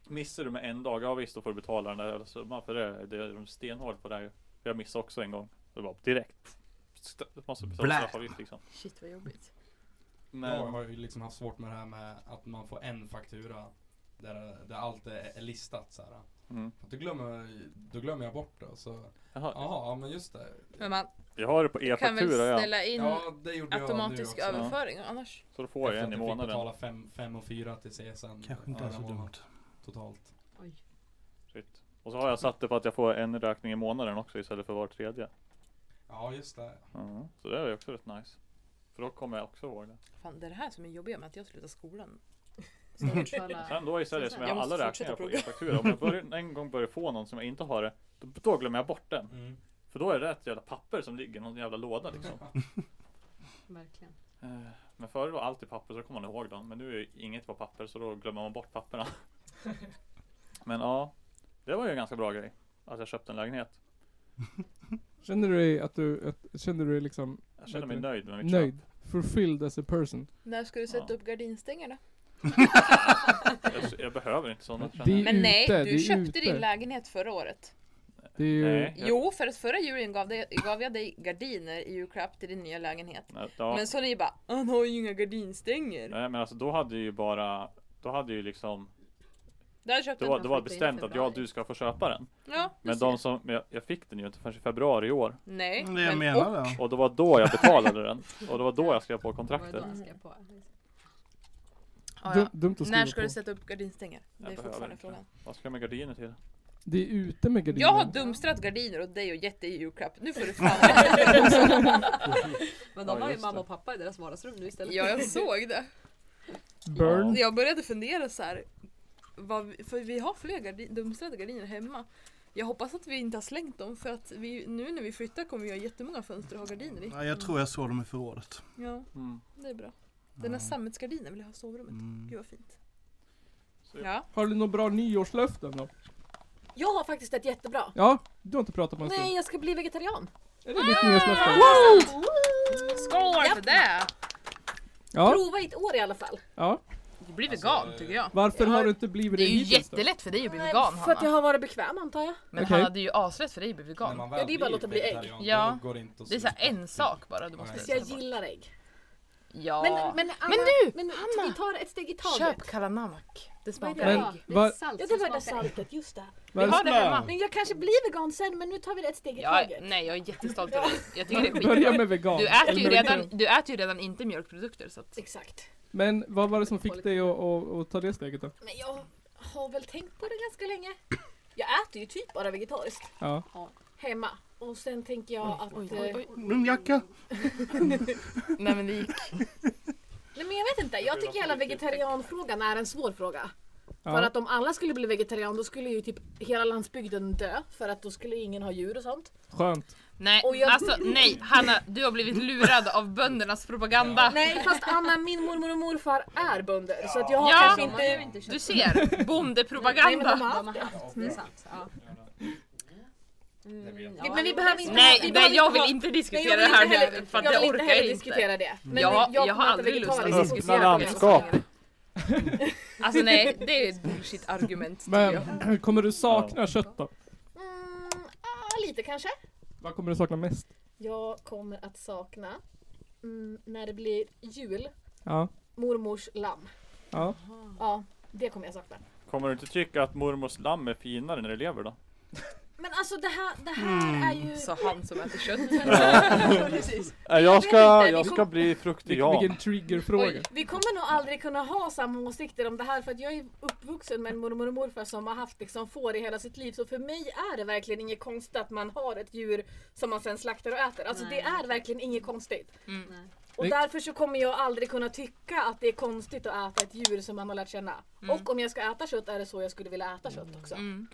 S2: Missar du med en dag, ja visst då får du betala den där jävla summan för det, det är de stenhård på det här ju. För jag missade också en gång. Det var direkt. St- Måste betala
S5: Blä.
S2: straffavgift liksom.
S11: Shit vad jobbigt.
S6: Jag
S2: Men
S6: har ju liksom haft svårt med det här med att man får en faktura där, där allt är är listat så här.
S2: Mm.
S6: Då, glömmer, då glömmer jag bort det och så,
S2: jag har,
S6: jaha, ja men just det.
S11: Men man
S2: jag har det på
S11: kan väl
S2: e-faktura ja.
S11: ställa in
S6: Ja, det gjorde
S11: automatisk
S6: jag nu också.
S11: överföring annars.
S2: Så då får jag
S6: Efter
S2: en i
S6: att vi fick
S2: månaden.
S6: betala 5 fem, och 4 till CSN.
S5: Kanske inte
S6: Ja,
S5: är så
S6: den månaden
S5: dumt.
S6: Totalt.
S2: Shit. Och så har jag satt det på att jag får en räkning i månaden också istället för var tredje.
S6: Ja, just det.
S2: Mm. Så det är ju också rätt nice. För då kommer jag också ihåg det.
S11: Fan det är det här som är jobbigt med att jag slutar skolan.
S2: Sen då istället som jag
S11: Jag
S2: har
S11: måste
S2: alla räkningar
S11: fortsätta
S2: på
S11: plugga.
S2: e-faktura. Om jag börjar, en gång börjar få någon som jag inte har det, då, då glömmer jag bort den.
S6: Mm.
S2: För då är det ett jävla papper som ligger i någon jävla låda liksom.
S13: Verkligen.
S2: Eh, Men förr var allt i papper så kom man ihåg dem. Men nu är ju inget på papper så då glömmer man bort papperna. Men ja, det var ju en ganska bra grej. Att jag köpte en lägenhet.
S1: Känner du dig att du, att, känner du dig liksom
S2: Jag känner
S1: Vet
S2: mig
S1: du?
S2: nöjd med mitt
S1: nöjd? Fulfilled as a person?
S4: När ska du sätta
S2: Ja.
S4: upp gardinstängerna?
S2: köp. Jag, jag behöver inte sådana. känner
S1: Det
S2: jag.
S1: är
S4: Men nej,
S1: ute, det
S4: du
S1: är
S4: köpte
S1: ute.
S4: din lägenhet förra året.
S1: Det är ju,
S2: Nej. jag-
S4: Jo, för att förra julen gav, dig, gav jag dig gardiner i julklapp till din nya lägenhet.
S2: Nej, ja.
S4: Men så är det ju bara, han har ju inga gardinstänger.
S2: Nej men alltså då hade ju bara Då hade ju liksom
S4: Där har jag köpt
S2: Det
S4: den.
S2: var, det var
S9: flytta in i
S2: bestämt att ja
S9: februari.
S2: du ska få köpa den
S4: Ja, du
S2: Men
S4: ser.
S2: de som men jag, jag fick den ju inte förrän i februari i år
S4: Nej,
S5: Det jag
S4: men
S5: menar då.
S2: Och det var då jag betalade den Och det var då jag skrev på
S9: Var det
S2: kontraktet
S9: då han skrev på?
S4: Ja,
S1: dum,
S4: ja.
S1: dumt att skriva
S4: När ska
S1: på.
S4: du sätta upp gardinstänger? Det är
S2: behöver
S4: fortfarande
S2: inte.
S4: frågan.
S2: Vad ska jag med gardiner till?
S1: Det är ute med gardiner.
S4: Jag har dumstrat gardiner åt dig och gett dig i julklapp. Nu får du fan
S9: Men
S2: Ja,
S9: de har ju
S2: just det.
S9: mamma och pappa i deras vardagsrum nu istället.
S4: Ja, jag såg det.
S1: Burn.
S4: Jag började fundera så här. Vad vi, för vi har fler gardi, dumstrade gardiner hemma. Jag hoppas att vi inte har slängt dem för att vi, nu när vi flyttar kommer vi ha jättemånga fönster och ha gardiner i.
S5: Ja, jag tror jag såg dem i förrådet.
S4: Ja,
S2: Mm.
S4: det är bra. Den här sammetsgardinen vill jag ha i sovrummet.
S5: Mm.
S4: Gud vad fint.
S2: Så-
S4: Ja.
S1: Har du några bra nyårslöften då?
S7: Jag har faktiskt ett jättebra.
S1: Ja, du har inte pratat på en
S7: Nej,
S1: stund.
S7: jag ska bli vegetarian.
S1: Är det ditt nyårslöfte?
S3: Ah!
S4: Skål för det!
S1: Ja,
S7: Prova i ett år i alla fall.
S1: ja.
S4: Du blir vegan tycker jag.
S1: Varför
S7: Ja,
S1: har du inte blivit
S11: Det
S1: det
S11: är ju
S1: hittills då?
S11: jättelätt för dig att bli vegan
S7: För att jag
S11: Hanna.
S7: har varit bekväm antar jag.
S11: Men
S1: Okej.
S11: han hade ju aslätt för dig att bli
S6: När
S11: vegan.
S6: man väl
S7: Ja, det är bara
S6: blir
S7: att låta bli ägg.
S6: vegetarian, då
S11: Ja.
S6: går det inte att
S11: Det är så här
S6: sluta.
S11: en sak bara du måste
S6: Nej.
S7: Så jag
S11: säga. så.
S7: gillar ägg.
S11: Ja.
S7: Men, men, Anna,
S11: du,
S7: men
S11: Hanna!
S7: vi tar ett steg i taget.
S11: Köp kalamak. Det
S9: Vad
S11: smakar
S9: är det?
S1: Men-
S11: ägg.
S9: Det
S1: vad-
S9: är salt
S7: Ja, det
S9: som
S7: var det
S9: smakar ägg.
S7: saltet, just det.
S11: Vi har det hemma.
S7: Men jag kanske blir vegan sen, men nu tar vi det ett steg i
S11: Ja, mm.
S7: taget.
S11: nej jag är jättestolt över dig. Jag tycker det är
S1: Börja
S11: skitbra.
S1: med vegan.
S11: Du äter, ju
S1: Eller
S11: redan,
S1: vegetarian.
S11: du äter ju redan inte mjölkprodukter så att
S7: Exakt.
S1: Men vad var det som fick dig att, att, att ta det steget då?
S7: Men jag har väl tänkt på det ganska länge. Jag äter ju typ bara vegetariskt
S1: Ja.
S7: hemma. Och sen tänker jag att... eh,
S5: Min jacka!
S11: nej men det gick.
S7: Nej men jag vet inte, jag tycker hela vegetarianfrågan är en svår fråga. För
S1: ja.
S7: att om alla skulle bli vegetarian då skulle ju typ hela landsbygden dö. För att då skulle ingen ha djur och sånt.
S1: Skönt.
S11: Nej,
S7: Och jag-
S11: alltså nej Hanna, du har blivit lurad av böndernas propaganda.
S7: Nej fast Anna, min mormor och morfar är bönder. Så att jag har
S11: Ja.
S7: kanske
S9: De har
S7: inte...
S9: ju inte
S11: Du
S9: köpt
S11: ser,
S7: Nej, men de
S11: bondepropaganda.
S7: har
S9: De
S7: haft
S9: har
S7: det.
S9: haft, det är sant. Ja.
S6: vet
S9: Mm,
S6: jag.
S9: ja,
S7: Men vi
S9: jo,
S7: behöver
S9: det är
S7: inte-
S9: sant.
S11: Nej,
S7: Vi
S11: nej
S7: behöver
S11: jag
S7: inte
S11: vill
S7: ha-
S11: inte
S7: Nej,
S11: diskutera
S7: jag
S11: det
S7: vill
S11: här
S7: inte heller,
S11: nu för att
S7: jag
S11: jag
S7: vill inte
S11: orkar
S7: heller
S11: inte.
S7: diskutera det. Men
S11: Ja, jag har
S7: kommer att
S11: aldrig lust att
S7: vegetariskt
S11: diskutera
S7: diskutera
S2: det.
S7: det.
S2: Öppna landskap.
S11: Alltså nej, det är ett bullshit argument tycker jag.
S1: Men kommer du sakna kött då?
S7: Mm, ah, lite kanske.
S1: Vad kommer du sakna mest?
S7: Jag kommer att sakna mm, när det blir jul,
S1: Ja.
S7: mormors lamm.
S1: Ja.
S7: Ja, det kommer jag sakna.
S2: Kommer du inte tycka att mormors lamm är finare när du lever då?
S7: Men alltså det här, det här
S11: Mm,
S7: är ju...
S11: Sa han som äter kött.
S2: Äh, jag
S7: ska- vet inte,
S2: ska,
S7: vi jag
S2: jag ska
S7: ska kom-
S2: bli
S1: Vilken,
S2: fruktigan
S1: vilken triggerfråga.
S7: Vi kommer nog aldrig kunna ha samma åsikter om det här för att jag är uppvuxen med en mormor och morfar som har haft liksom får i hela sitt liv. Så för mig är det verkligen inget konstigt att man har ett djur som man sen slaktar och äter. Alltså
S9: Nej.
S7: det är verkligen inget konstigt.
S11: Mm.
S9: Nej.
S7: Och
S1: Det-
S7: därför så kommer jag aldrig kunna tycka att det är konstigt att äta ett djur som man har lärt känna. Och om jag ska äta kött är det så jag skulle vilja äta kött också.
S11: Mm.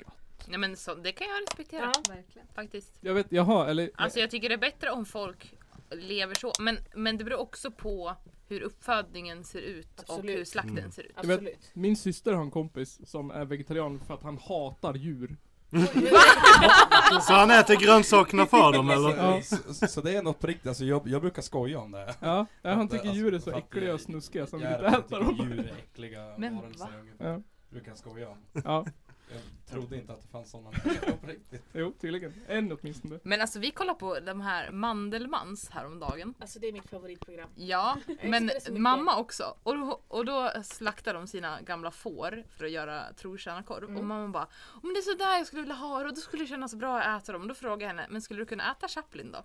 S11: Nej men så, det kan jag respektera
S7: Ja.
S9: Verkligen.
S11: faktiskt.
S1: Jag vet, jaha, eller?
S11: Alltså jag tycker det är bättre om folk lever så. Men, men det beror också på hur uppfödningen ser ut och
S7: Absolut.
S11: hur slakten ser ut.
S1: vet-
S7: Absolut.
S1: Min syster har en kompis som är vegetarian för att han hatar djur.
S5: Så han äter grönsakerna för dem
S6: Så,
S5: eller?
S1: Ja.
S6: så- så, så det är något på riktigt, alltså jag, jag brukar skoja om det.
S1: Ja, ja han
S6: Att,
S1: tycker
S6: alltså,
S1: djur är så
S6: för att
S1: äckliga
S6: det-
S1: och snuskiga så han vill
S6: Jag
S1: inte äta
S6: tycker
S1: dem.
S6: Djur är äckliga
S11: Men
S6: varelser
S11: va?
S6: ungefär.
S1: Ja,
S6: Brukar jag skoja om.
S1: ja,
S6: Jag trodde inte att det fanns sådana människor på riktigt.
S1: jo tydligen. En åtminstone.
S11: Men alltså vi kollar på de här Mandelmans häromdagen.
S7: Alltså det är mitt favoritprogram.
S11: Ja,
S7: älskar
S11: men
S7: det så mycket.
S11: mamma också. Och då, och då slaktar de sina gamla får för att göra trotjänarkorv.
S7: Mm.
S11: Och mamma bara Om det är sådär jag skulle vilja ha det och då skulle det kännas bra att äta dem. Och då frågar jag henne, men skulle du kunna äta Chaplin då?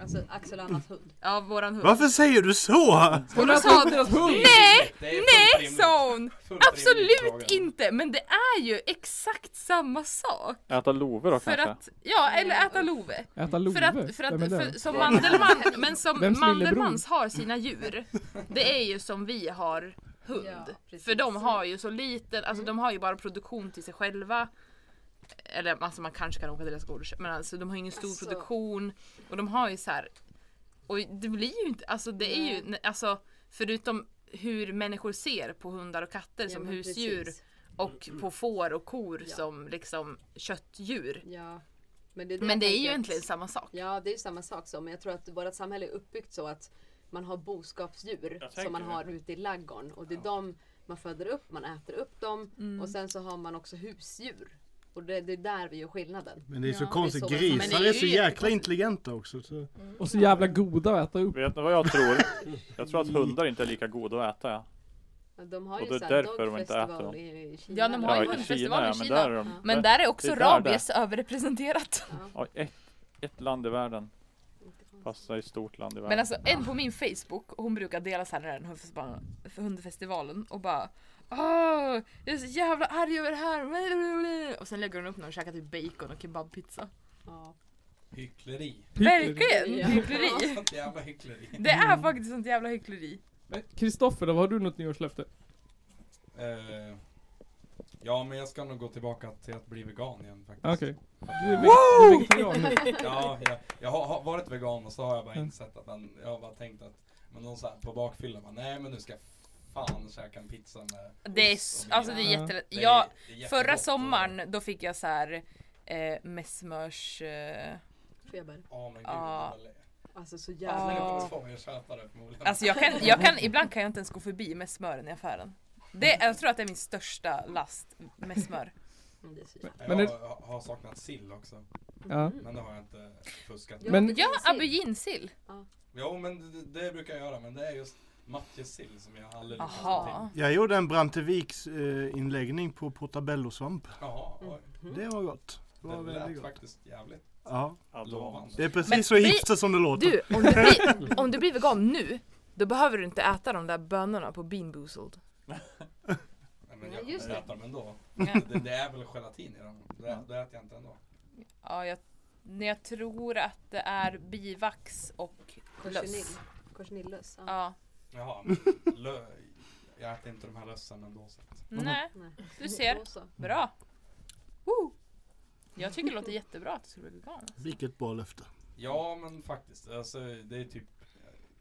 S9: Alltså Axel och Annas hund.
S11: Ja, våran hund.
S5: Varför säger du så?
S11: Och då sa
S1: Deras hund!
S11: Nej!
S6: Det är fullt
S11: Eh, Nej
S6: rimligt.
S11: sa hon!
S6: Fullt rimligt
S11: Absolut
S6: fråga.
S11: inte! Men det är ju exakt samma sak.
S2: Äta lover då
S11: För
S2: kanske?
S11: att, ja eller äta love.
S1: Äta love?
S11: För att, för
S1: Vem är
S11: att
S1: det?
S11: för, som Mandelman, men som
S1: Vems
S11: Mandelmans har sina djur, det är ju som vi har hund.
S9: Ja, precis.
S11: för de har ju så liten, alltså de har ju bara produktion till sig själva. Eller alltså man kanske kan åka till deras gård och köpa, men alltså de har ju ingen stor
S9: Alltså.
S11: produktion. Och de har ju så här. och det blir ju inte, alltså det är ju, alltså förutom hur människor ser på hundar och katter
S9: Ja,
S11: som
S9: men
S11: husdjur
S9: precis.
S2: Mm,
S11: och på får och kor som liksom köttdjur.
S3: Ja. Men det är,
S11: Men det
S3: jag
S11: är ju
S3: tänker att-
S11: egentligen samma sak.
S3: Ja, det är ju samma sak så. Men jag tror att vårt samhälle är uppbyggt så att man har boskapsdjur
S2: Jag
S3: som man
S2: tänker
S3: har
S2: det.
S3: ute i laggården. Och det är de man föder upp, man äter upp dem.
S11: Mm.
S3: Och sen så har man också husdjur. Och det, det är där vi gör skillnaden.
S5: Men det är så
S11: Ja,
S5: konstigt,
S3: det är så- men
S11: det är
S5: grisar
S11: ju
S5: är så jäkla
S11: jättekonstigt.
S5: intelligenta också. Så.
S1: Och så jävla goda att äta upp.
S2: Vet ni vad jag tror? Jag tror att hundar inte är lika goda att äta. ja.
S3: De har
S2: Och
S3: ju
S2: det är
S3: så här
S2: därför de inte äter
S3: dogfestival
S2: dem.
S3: i i Kina.
S11: Ja, de har ju
S2: Ja, i
S11: hundfestival i
S2: Kina, ja, men
S11: Kina.
S2: där är de.
S3: Ja.
S11: Men där är också
S2: Det är där
S11: rabies överrepresenterat.
S2: Ja, ett, ett land i världen.
S3: Inte konstigt.
S2: Fast det är ett stort land i världen.
S11: Men alltså en på min Facebook, hon brukar dela så här den här hundfestivalen- hundfestivalen och bara Åh, jag är så jävla arg över det här. Och sen lägger hon upp när hon käkar typ bacon och kebabpizza.
S3: Ja.
S6: Hyckleri. Mm.
S11: Verkligen! Hyckleri!
S6: Sånt jävla hyckleri.
S11: Det är faktiskt sånt jävla hyckleri.
S1: Men Kristoffer då, har du något nyårslöfte?
S6: Eh, ja, men jag ska nog gå tillbaka till att bli vegan igen faktiskt.
S1: Okej. Du är veg- vegetarian nu.
S6: Ja, jag, jag har, har varit vegan och så har jag bara
S1: Mm.
S6: insett att man, jag har bara tänkt att, men någon så här på bakfyllan bara, nej men nu ska jag fan käka en pizza med
S11: Det är,
S6: ost
S11: s-
S6: och
S11: alltså
S6: vin."
S11: det är jättelätt.
S6: Det är-
S11: Jag,
S6: det är jättegott
S11: förra
S6: och-
S11: sommaren då fick jag så här eh, med smörs... Eh,
S3: Feber.
S6: Ja men gud,
S11: Ja.
S6: det var le-
S3: Alltså så
S6: jag
S3: jävla
S11: Ja.
S6: skulle
S11: Ah.
S6: inte tvungen att köpa det förmodligen.
S11: Alltså jag kan, jag kan, ibland kan jag inte ens gå förbi med smören i affären. Det, jag tror att det är min största last med smör.
S3: Mm, det är så jävla-
S6: jag
S1: Men det-
S6: har- har saknat sill också,
S1: Ja.
S6: men det har jag inte fuskat med.
S3: Ja,
S1: Men-
S3: det
S11: Ja,
S3: finns ju-
S11: auberginesill!
S6: Jo men det, det brukar jag göra, men det är just matjessill som jag aldrig lyckas få till.
S11: Aha.
S5: Jag gjorde en Branteviks eh, inläggning på portabellosvamp.
S6: Jaha,
S11: Mm.
S6: oj.
S5: Det var gott. Det var
S6: Det lät
S5: väldigt gott.
S6: faktiskt jävligt
S5: Ja,
S2: Alltså,
S6: lovande.
S5: det är
S11: Men
S5: precis så
S11: vi-
S5: hipster som det låter.
S11: Du, om du, blir, om du blir vegan nu, då behöver du inte äta de där bönorna på bean boozled.
S6: Nej, men
S3: Ja,
S6: jag
S3: just det.
S6: äter dem ändå.
S11: Ja.
S6: Det, det är väl gelatin i dem? Det, det äter jag inte ändå.
S11: Ja, jag, nej, jag tror att det är bivax och löss.
S3: Korsenil- Korsenillöss. Ja.
S11: Ja.
S6: Jaha, men lö, jag äter inte de här lössen ändå. Så. att-
S11: Nej,
S3: Nej.
S11: du ser.
S3: Då så.
S11: Bra! Woo. Jag tycker det låter jättebra att du skulle bli vegan.
S5: Vilket bra löfte.
S6: Ja men faktiskt, alltså, det är typ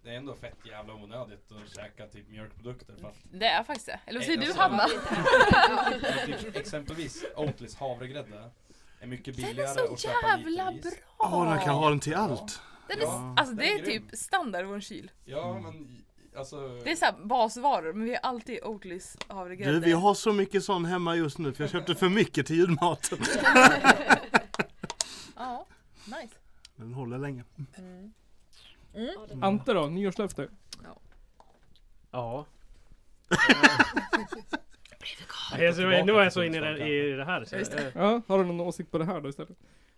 S6: det är ändå fett jävla onödigt att käka typ mjölkprodukter för att
S11: Det är faktiskt det. Eller vad säger
S6: Nej,
S11: du
S6: jag
S5: alltså,
S11: Hanna?
S6: men typ, exempelvis Oatlys havregrädde är mycket
S11: Den
S6: billigare
S11: är
S6: att
S11: så
S6: köpa liter
S11: jävla
S6: i.
S11: bra!
S5: Åh, man kan ha den till allt.
S11: Den är,
S6: Ja,
S11: alltså
S6: den
S11: det
S6: är
S11: är
S6: grym.
S11: typ standard i vår kyl.
S6: Ja men i- alltså
S11: Det är såhär basvaror men vi har alltid Oatlys havregrädde.
S5: Du, vi har så mycket sån hemma just nu för jag köpte för mycket till julmaten.
S11: Ja, nice.
S5: Den håller länge.
S1: Ante då, nyårslöfte?
S8: Ja. Jag tror- nu är jag så inne i det, i det här. Så,
S11: Just
S8: eh,
S1: Ja, har du någon åsikt på det här då istället?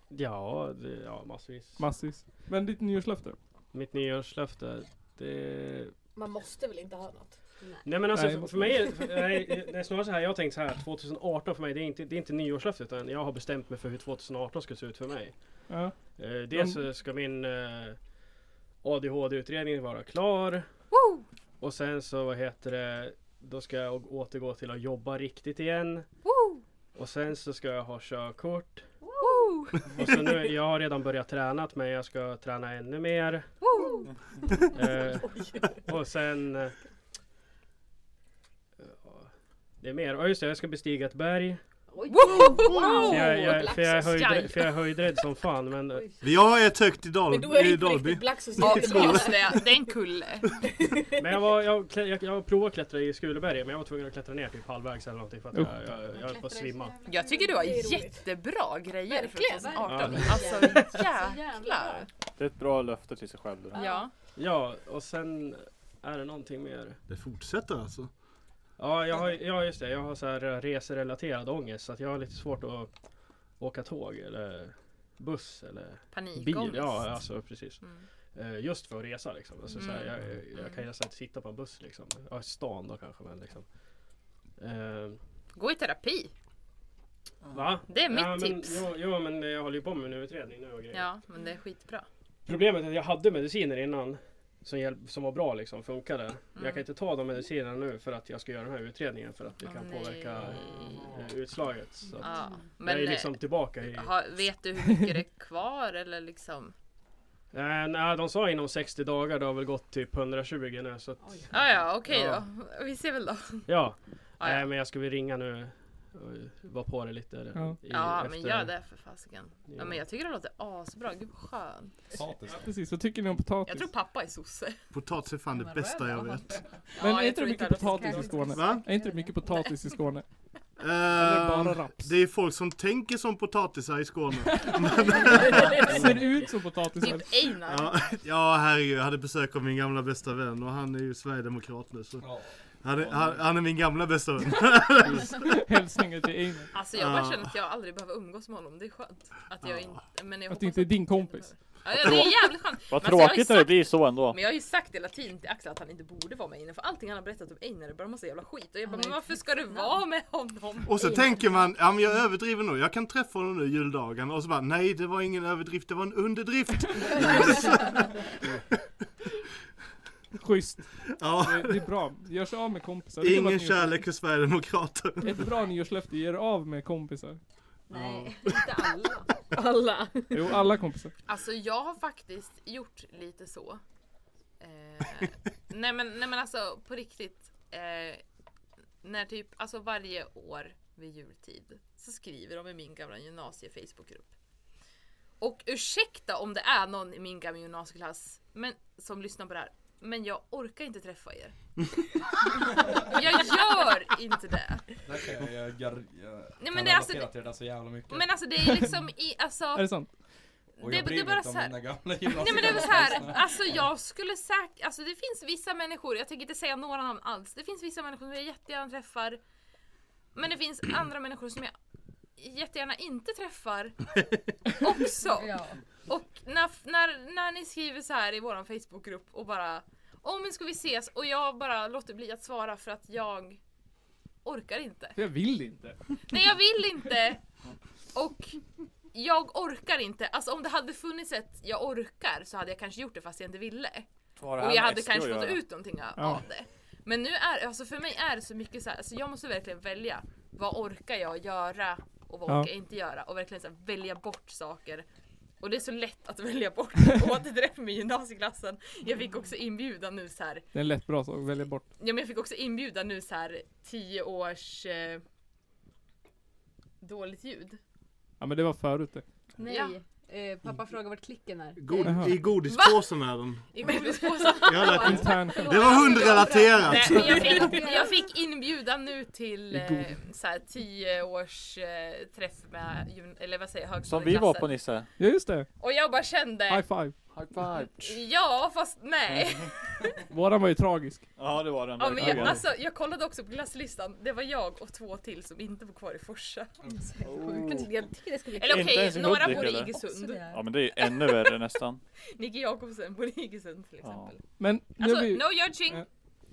S8: ja, det, ja, massvis.
S1: Massis. Men ditt nyårslöfte?
S8: Mitt nyårslöfte. Det...
S7: Man måste väl inte ha något?
S8: Nej men alltså
S1: Nej,
S8: för- för mig är det, för, nej, det är snarare så här. Jag har tänkt så här. 2018 för mig det är inte, det är inte nyårslöfte utan jag har bestämt mig för hur 2018 ska se ut för mig.
S1: Ja.
S8: Eh, dels så ska min eh, ADHD-utredning vara klar.
S11: Woo!
S8: Och sen så vad heter det. Då ska jag återgå till att jobba riktigt igen.
S11: Woo!
S8: Och sen så ska jag ha körkort.
S11: Woo!
S8: Och så nu, jag har redan börjat träna men jag ska träna ännu mer.
S11: Woo!
S8: Eh, och sen... eh, det är mer. Ja just det, jag ska bestiga ett berg.
S3: Oj,
S11: Wow!
S8: Mm. För
S3: wow!
S8: jag, jag, för jag, är höjdrä-
S11: Blackstone.
S8: för jag är höjdrädd som fan men... eh,
S5: Vi har ett högt i,
S7: Men då
S5: Dal-
S7: är det
S5: i
S7: inte
S5: Dalby.
S7: riktigt Blacksos
S11: Ja, just det, det är en kulle.
S8: Men jag, var, jag, klä- jag, jag provade att klättra i Skuleberget men jag var tvungen att klättra ner typ halvvägs eller någonting för att jag, jag, jag höll på att svimma.
S11: Jag tycker du har
S7: Det är roligt.
S11: jättebra grejer för
S7: Verkligen.
S11: 2018.
S8: Ja.
S11: Alltså
S3: Så
S11: jävlar.
S3: jävla
S2: Det är ett bra löfte till sig själv. Det där.
S11: Ja.
S8: Ja och sen är det någonting mer.
S5: Det fortsätter alltså.
S8: Ja, jag har, ja just det. Jag har så här eh, reserelaterad ångest så att jag har lite svårt att åka tåg eller buss eller bil.
S11: Panikångest.
S8: Ja, alltså precis.
S11: Mm.
S8: Eh, Just för att resa liksom. Alltså, så här,
S11: Mm.
S8: jag, jag kan ju nästan inte sitta på en buss liksom. Ja, i stan då kanske men liksom. Eh,
S11: Gå i terapi.
S8: va?
S11: Det är mitt
S8: men,
S11: tips.
S8: Jo, jo men jag håller ju på med en utredning nu och grejer.
S11: Ja, men det är skitbra.
S8: Problemet är att jag hade mediciner innan som, hjälp, som var bra liksom, funkade. Jag
S11: Mm.
S8: kan inte ta de medicinerna nu för att jag ska göra den här utredningen för att det
S11: Åh,
S8: kan
S11: nej.
S8: påverka eh, utslaget. Så att
S11: Ja.
S8: jag
S11: Men
S8: är liksom tillbaka i...
S11: eh, har- vet du hur mycket det är kvar eller liksom?
S8: Eh, nej, de sa inom 60 dagar, det har väl gått typ 120 nu så att,
S11: Ah, ja, okej
S8: Ja.
S11: då. Vi ser väl då.
S8: ja.
S11: Ah, ja.
S8: Nej, men jag ska väl ringa nu och vara på det lite. eh,
S1: Ja.
S8: i-
S11: Ja men
S8: efter-
S11: gör det för fasiken.
S8: Ja.
S11: Ja men jag tycker det låter asbra, gud vad skönt.
S6: Potatis. då.
S1: Precis, vad tycker ni om potatis?
S11: Jag tror pappa är sosse.
S5: Potatis är fan det bästa jag vet.
S1: Men är inte
S11: tror
S1: det mycket
S11: att-
S1: potatis i Skåne?
S5: Va?
S1: Är inte det mycket potatis i Skåne? Eller bara
S5: Eh,
S1: raps?
S5: det är folk som tänker som potatisar i Skåne.
S1: Ser ut som potatis. men-
S11: Typ Einar.
S5: Ja, ja herregud, jag hade besök av min gamla bästa vän och han är ju sverigedemokrat nu så
S6: Ja.
S5: han är, han, han är min gamla bästa vän.
S1: Hälsningar till Einar.
S11: Alltså jag bara
S5: Ja.
S11: känner att jag aldrig behöver umgås med honom, det är skönt. Att jag inte, men jag
S1: Att
S11: hoppas
S1: det inte är din kompis.
S11: Ja, ja, det är jävligt skönt.
S2: Vad
S11: Men alltså, jag har
S2: tråkigt
S11: ju
S2: när det
S11: sagt-
S2: blir så ändå.
S11: Men jag har ju sagt hela tiden till Axel att han inte borde vara med Einar för allting han har berättat om Einar är bara massa jävla skit och jag bara men varför ska du vara med honom?
S5: Och så tänker man, ja men jag överdriver nog, jag kan träffa honom nu juldagen och så bara nej det var ingen överdrift, det var en underdrift.
S1: Schysst.
S5: Ja,
S1: Det, det är bra. Gör sig av med kompisar. Det kan vara
S5: ingen
S1: ett nyårs-
S5: kärlek för sverigedemokrater.
S1: Ett bra nyårslöfte, ge er av med kompisar.
S9: Nej, inte alla.
S7: Alla.
S1: Jo, alla kompisar.
S11: Alltså jag har faktiskt gjort lite så. Eh, nej, men, nej men alltså på riktigt. Eh, när typ, alltså varje år vid jultid så skriver de i min gamla gymnasie Facebookgrupp. Och ursäkta om det är någon i min gamla gymnasieklass men, som lyssnar på det här. Men jag orkar inte träffa er. jag gör inte det.
S6: Där kan jag, jag, jag, jag
S11: men
S6: kan
S11: det är alltså-
S6: relatera till det där så jävla mycket.
S11: Men alltså det är liksom i, alltså.
S1: Är det sant?
S6: och
S11: det-
S6: jag
S11: det
S6: bryr
S11: är bara
S6: mig inte om
S11: så här-
S6: mina gamla
S11: Nej men det var så här,
S6: gymnasiekompisar.
S11: alltså jag skulle säkert, alltså det finns vissa människor, jag tänker inte säga några namn alls, det finns vissa människor som jag jättegärna träffar, men det finns andra människor som jag jättegärna inte träffar också.
S9: Ja.
S11: Och när, när, när ni skriver så här i våran Facebookgrupp och bara Åh men ska vi ses? Och jag bara låter bli att svara för att jag orkar inte.
S1: För jag vill inte.
S11: Nej jag vill inte! Och jag orkar inte. Alltså om det hade funnits ett jag orkar så hade jag kanske gjort det fast jag inte ville.
S2: Vad har det här
S11: Och jag
S2: med
S11: hade
S2: SD att
S11: kanske fått
S2: göra?
S11: ut någonting av
S1: Ja.
S11: av det. Men nu är alltså för mig är det så mycket så här, alltså jag måste verkligen välja. Vad orkar jag göra och vad
S1: Ja.
S11: orkar jag inte göra? Och verkligen så här, välja bort saker. Och det är så lätt att välja bort. Återträff med gymnasieklassen. Jag fick också inbjudan nu så här.
S1: Det är en lätt bra sak att välja bort.
S11: Ja men jag fick också inbjudan nu så här 10 års eh, dåligt ljud.
S1: Ja men det var förut det.
S9: Nej.
S11: Ja.
S9: Eh, pappa frågar vart klicken är.
S5: God,
S1: Jaha.
S5: I godispåsen är den.
S11: I godispåsen.
S5: Jag lät inte.
S1: Intern
S9: Eh,
S1: skämt.
S5: Det var hundrelaterat.
S11: Nej, men jag, fick, jag fick inbjudan nu till eh,
S1: God.
S11: så här, tio års eh, träff med gym- eller vad säger jag,
S2: Som vi var på
S11: högskoleklassen.
S2: Nisse.
S1: Ja just det.
S11: Och jag bara kände,
S1: High five.
S2: High five.
S11: ja fast nej.
S1: Våran var ju tragisk.
S2: Ja det var den.
S11: Ja, men jag,
S2: verkligen.
S11: alltså, jag kollade också på glasslistan, det var jag och två till som inte var kvar i Forsa.
S2: Oh.
S7: Jag tycker det ska bli
S11: Eller
S2: Inte
S11: okej,
S2: ens i
S11: några
S2: Hudik,
S11: bor i
S2: eller?
S11: Iggesund.
S2: Ja men det är ju ännu värre nästan.
S11: Nigge Jakobsen bor i Iggesund till
S2: Ja.
S11: exempel.
S1: Men nu,
S11: Alltså,
S1: har vi,
S11: no judging!
S1: Ja.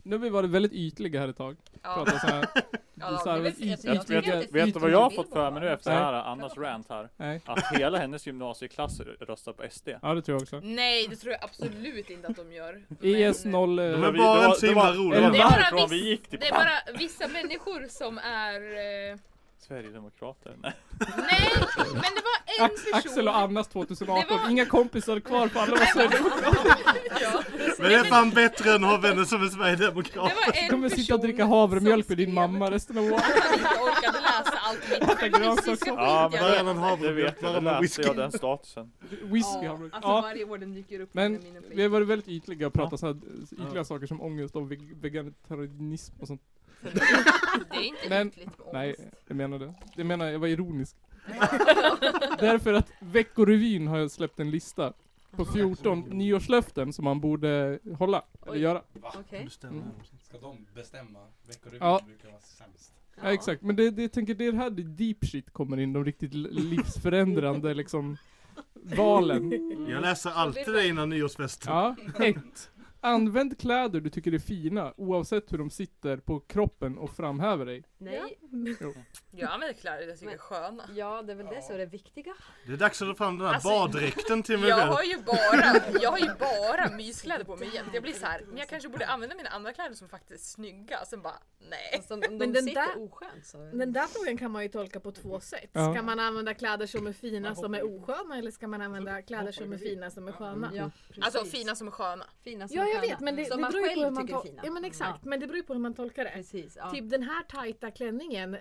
S1: nu har vi varit väldigt ytliga här ett tag.
S11: Ja.
S1: Pratat så här.
S11: Ja,
S1: så här
S11: det
S1: väldigt
S11: vet- jag
S1: yt-
S9: tycker att
S1: ytliga-
S9: det är
S2: Vet du vad jag har fått för mig nu efter det
S1: Nej.
S2: här Annas rant här?
S1: Nej.
S2: Att hela hennes gymnasieklass röstar på SD.
S1: Ja det tror jag också. E
S11: Nej det tror jag absolut inte att de gör.
S1: ES
S11: Men- eh,
S1: 0...
S5: De
S2: Det
S5: är
S2: vi-
S5: bara
S2: det var-
S5: inte så
S2: det
S5: himla
S2: var-
S5: roliga.
S2: Det var
S11: Det är bara
S2: därifrån
S11: viss-
S2: vi gick typ. till
S11: Det är bara vissa människor som är... Eh,
S2: Sverigedemokrater. Nej.
S11: nej, men det var en person.
S1: Axel och Annas 2018.
S11: Det var-
S1: Inga kompisar kvar för alla var sverigedemokrater.
S11: Ja,
S5: Men det är fan bättre än att ha vänner som är sverigedemokrater.
S11: det var en
S1: Kommer sitta och dricka
S11: person
S1: havremjölk
S11: som
S1: med din
S11: skrev
S1: mamma resten av året.
S11: Att han inte orkade läsa allt mitt
S1: grönsaker.
S11: feministiska skit
S2: Ja, men
S11: jag
S5: Varannan
S11: läste.
S5: havremjölk,
S2: Det vet jag, det
S5: varannan
S2: läste
S5: whisky.
S2: jag den statusen.
S1: Whisky har
S11: Ja,
S1: man-
S11: alltså
S1: Ja.
S11: varje år den dyker upp
S1: Men
S11: under mina
S1: vi har varit väldigt ytliga och pratat
S2: Ja.
S1: så här ytliga saker som ångest och veg- vegetarianism och sånt.
S11: Facebook. Det är inte
S1: Men-
S11: ytligt med
S1: Nej,
S11: ångest.
S1: jag menar det. Jag menar, jag var ironisk. Därför att Veckorevyn har jag släppt en lista på 14 nyårslöften som man borde hålla, eller
S9: Oj.
S1: göra.
S9: Okej.
S6: Ska de bestämma? Veckorevyn
S1: Ja.
S6: brukar vara sämst.
S1: Ja, exakt, men det, det, jag tänker det är här det deep shit kommer in, de riktigt l- livsförändrande liksom valen.
S5: Jag läser alltid det innan nyårsfesten.
S1: Ja, ett. Använd kläder du tycker är fina oavsett hur de sitter på kroppen och framhäver dig.
S9: Nej.
S11: Jag använder kläder jag tycker är sköna.
S9: Ja, det är väl det som är det viktiga.
S7: Eh,
S5: Det är dags att ta fram den här
S11: Alltså,
S5: baddräkten till mig
S11: Jag
S5: själv.
S11: har ju bara, jag har ju bara myskläder på mig jämt. Jag blir så här, men jag kanske borde använda mina andra kläder som faktiskt är snygga. Sen bara, nej.
S9: Fast Alltså, om, om de
S7: Men den
S9: sitter
S7: där-
S9: oskönt så...
S7: Den där frågan kan man ju tolka på två sätt.
S1: Ja.
S7: Ska man använda kläder som är fina som är osköna eller ska man använda kläder som är fina som är sköna?
S9: Ja,
S11: Alltså
S9: precis.
S11: fina som är sköna.
S9: Fina Mm. som
S7: Mm. Ja jag
S9: sköna.
S7: vet men det, det
S9: Som man
S7: beror ju på hur
S9: själv
S7: man
S9: tycker är
S7: tolkar Typ
S9: fina.
S7: Ja men exakt, men det beror ju på hur man tolkar det.
S9: Precis, ja.
S7: Typ den här tajta klänningen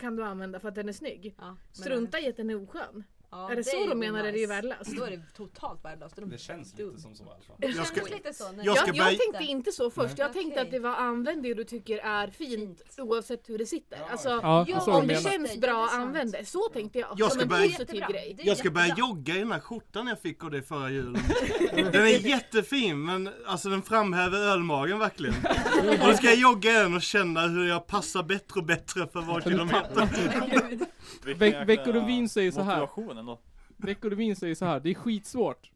S7: kan du använda för att den är snygg.
S3: Ja, men-
S7: Strunta i att den är oskön.
S3: Ja,
S7: är det, så de menar
S3: nice.
S7: är det ju värdelöst.
S3: Då är det totalt värdelöst. De
S6: Det känns lite som så alltså. i alla fall.
S9: Det
S5: Jag
S9: känns
S5: ska-
S9: lite så. när
S5: jag
S9: du-
S5: ska
S7: Jag, jag
S5: börja-
S7: tänkte inte så först. Jag tänkte
S9: Okej.
S7: att det var använd det du tycker är fint oavsett hur det sitter.
S6: Ja,
S7: alltså,
S1: Ja,
S9: Ja,
S1: så
S7: om
S1: de
S7: det
S9: menar.
S1: menar.
S7: känns
S9: Ja,
S7: bra,
S9: det är sant.
S7: använd det. Så tänkte jag.
S5: Jag
S7: som
S5: ska
S7: en
S5: börja-
S7: positiv
S9: Jättebra.
S7: grej.
S9: Det är
S5: Jag ska börja
S9: jättebra.
S5: jogga i den här skjortan jag fick av dig förra julen. Den är jättefin men alltså den framhäver ölmagen verkligen. Och då ska jag jogga i den och känna hur jag passar bättre och bättre för var kilometer.
S2: Vilken
S1: Ve-
S2: jäkla
S1: Veckorevyn säger så här.
S2: Motivation ändå.
S1: Veckorevyn säger så här, det är skitsvårt.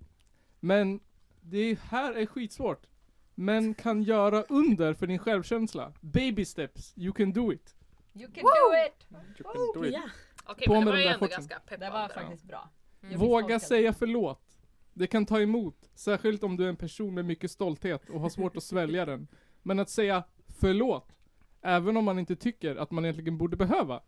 S1: Men det här är skitsvårt. Men kan göra under för din självkänsla. Baby steps, you can do it.
S9: You can do it!
S7: Ja.
S11: Okej,
S1: På
S11: men det
S1: med
S11: var
S1: de
S11: ju
S1: där
S11: ändå
S1: shortsen.
S11: ganska
S9: Det var
S11: peppande.
S9: faktiskt bra. Jag
S1: Våga
S9: misstolkade.
S1: säga förlåt. Det kan ta emot, särskilt om du är en person med mycket stolthet och har svårt att svälja den. Men att säga förlåt, även om man inte tycker att man egentligen borde behöva,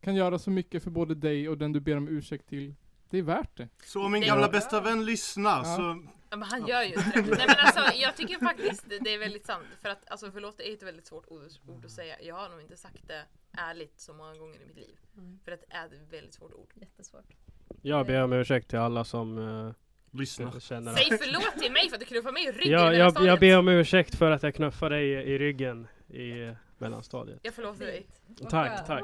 S1: kan göra så mycket för både dig och den du ber om ursäkt till. Det är värt det.
S5: Så om min gamla bästa vän lyssnar så
S11: Ja, men han gör ju inte det. Nej, men alltså, jag tycker faktiskt det- det är väldigt sant. För att alltså, förlåt det är ett väldigt svårt ord, ord att säga. Jag har nog inte sagt det ärligt så många gånger i mitt liv. För att det är ett väldigt svårt ord.
S9: Jättesvårt.
S8: Jag ber om ursäkt till alla som eh,
S5: lyssnar.
S8: känner att...
S11: Säg förlåt till mig för att du knuffar mig i ryggen
S8: Jag,
S11: i
S8: jag, jag
S11: mellanstadiet.
S8: ber om ursäkt för att jag knuffade dig i, i ryggen i eh, mellanstadiet.
S11: Jag förlåter dig.
S9: Vad skönt.
S8: Tack, tack.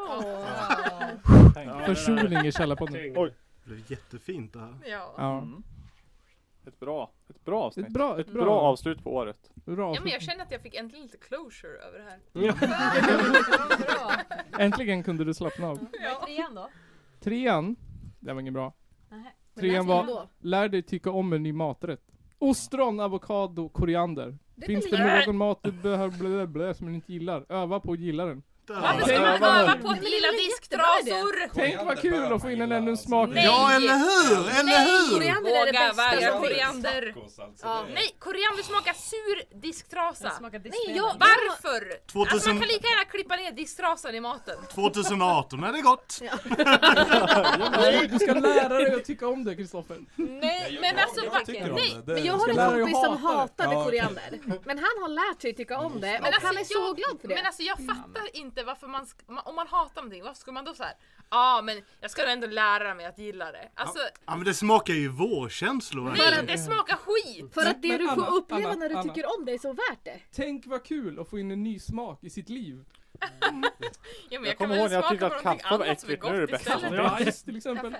S9: Åh.
S1: Försoning i källarpodden.
S8: Oj.
S5: Det blev jättefint det här.
S11: Ja.
S1: Ja.
S2: Mm. Ett bra, ett bra avsnitt.
S1: Ett bra, ett
S2: Bra,
S1: bra,
S2: avslut på året.
S1: bra
S11: ja men jag känner att jag fick äntligen lite closure över det här.
S9: Vad bra.
S1: Äntligen kunde du slappna av.
S9: Vad är trean då?
S1: Trean, det var ingen bra.
S9: Nähä.
S7: Men där
S1: Trean
S7: ska
S1: var-
S7: man då.
S1: Lär dig tycka om en ny maträtt. Ostron, avokado, koriander.
S7: Det
S1: Finns
S7: är
S1: det
S11: lite-
S1: någon mat du behöver blä, blä, som du inte gillar? Öva på att gilla den.
S11: Varför
S5: Där.
S11: ska man
S1: Öva.
S11: öva på att
S7: Men det är
S11: gilla
S7: väl
S11: disktrasor?
S1: Tänk vad kul att få in en ännu
S6: alltså.
S1: smak.
S11: Nej.
S5: Ja eller hur! Eller hur!
S7: Koriander är det
S11: Våga
S7: bästa
S11: välja
S7: som finns.
S11: koriander.
S6: Tacos, alltså,
S7: Ja.
S6: det är-
S11: Nej, koriander smakar sur
S9: Den
S11: disktrasa.
S9: smakar
S7: Nej,
S9: diskmedel.
S7: jag,
S11: Varför? Alltså
S5: 2000
S11: man kan lika gärna klippa ner disktrasan i maten.
S5: 2018 är det gott.
S1: Nej, du ska lära dig att tycka om det Kristoffer.
S11: Nej,
S6: jag-
S11: men
S6: jag-
S11: alltså
S6: jag
S11: va-
S6: tycker om
S11: nej.
S6: det. Det-
S7: men jag har
S1: ska lära dig
S7: en
S1: att
S7: kompis som
S1: hata Mm,
S7: hatade
S6: Ja, okej.
S7: koriander. Men han har lärt sig tycka om det och
S11: Men
S7: han är
S11: alltså,
S7: så
S11: jag-
S7: glad för det.
S11: Men alltså jag fattar inte varför man, sk- ma- om man hatar någonting, varför ska man då så här? Ja ah, men jag ska ändå lära mig att gilla det. Alltså
S5: Ja men det smakar ju vårkänslor. verkligen.
S11: nej, det smakar skit!
S7: för att det
S1: Men
S7: du får
S1: Anna,
S7: uppleva
S1: Anna,
S7: när du
S1: Anna.
S7: tycker om det är så värt det.
S1: Tänk vad kul att få in en ny smak i sitt liv.
S11: Ja, men jag,
S2: Jag
S11: kan
S2: kommer
S11: väl
S2: ihåg när jag
S11: smaka
S2: tyckte
S11: på
S2: att
S11: någonting
S2: kaffe var
S11: annat som är
S2: äckligt, nu är det
S11: gott
S2: bättre.
S9: Alltså,
S11: istället.
S8: Ja.
S1: Bajs Typ till exempel.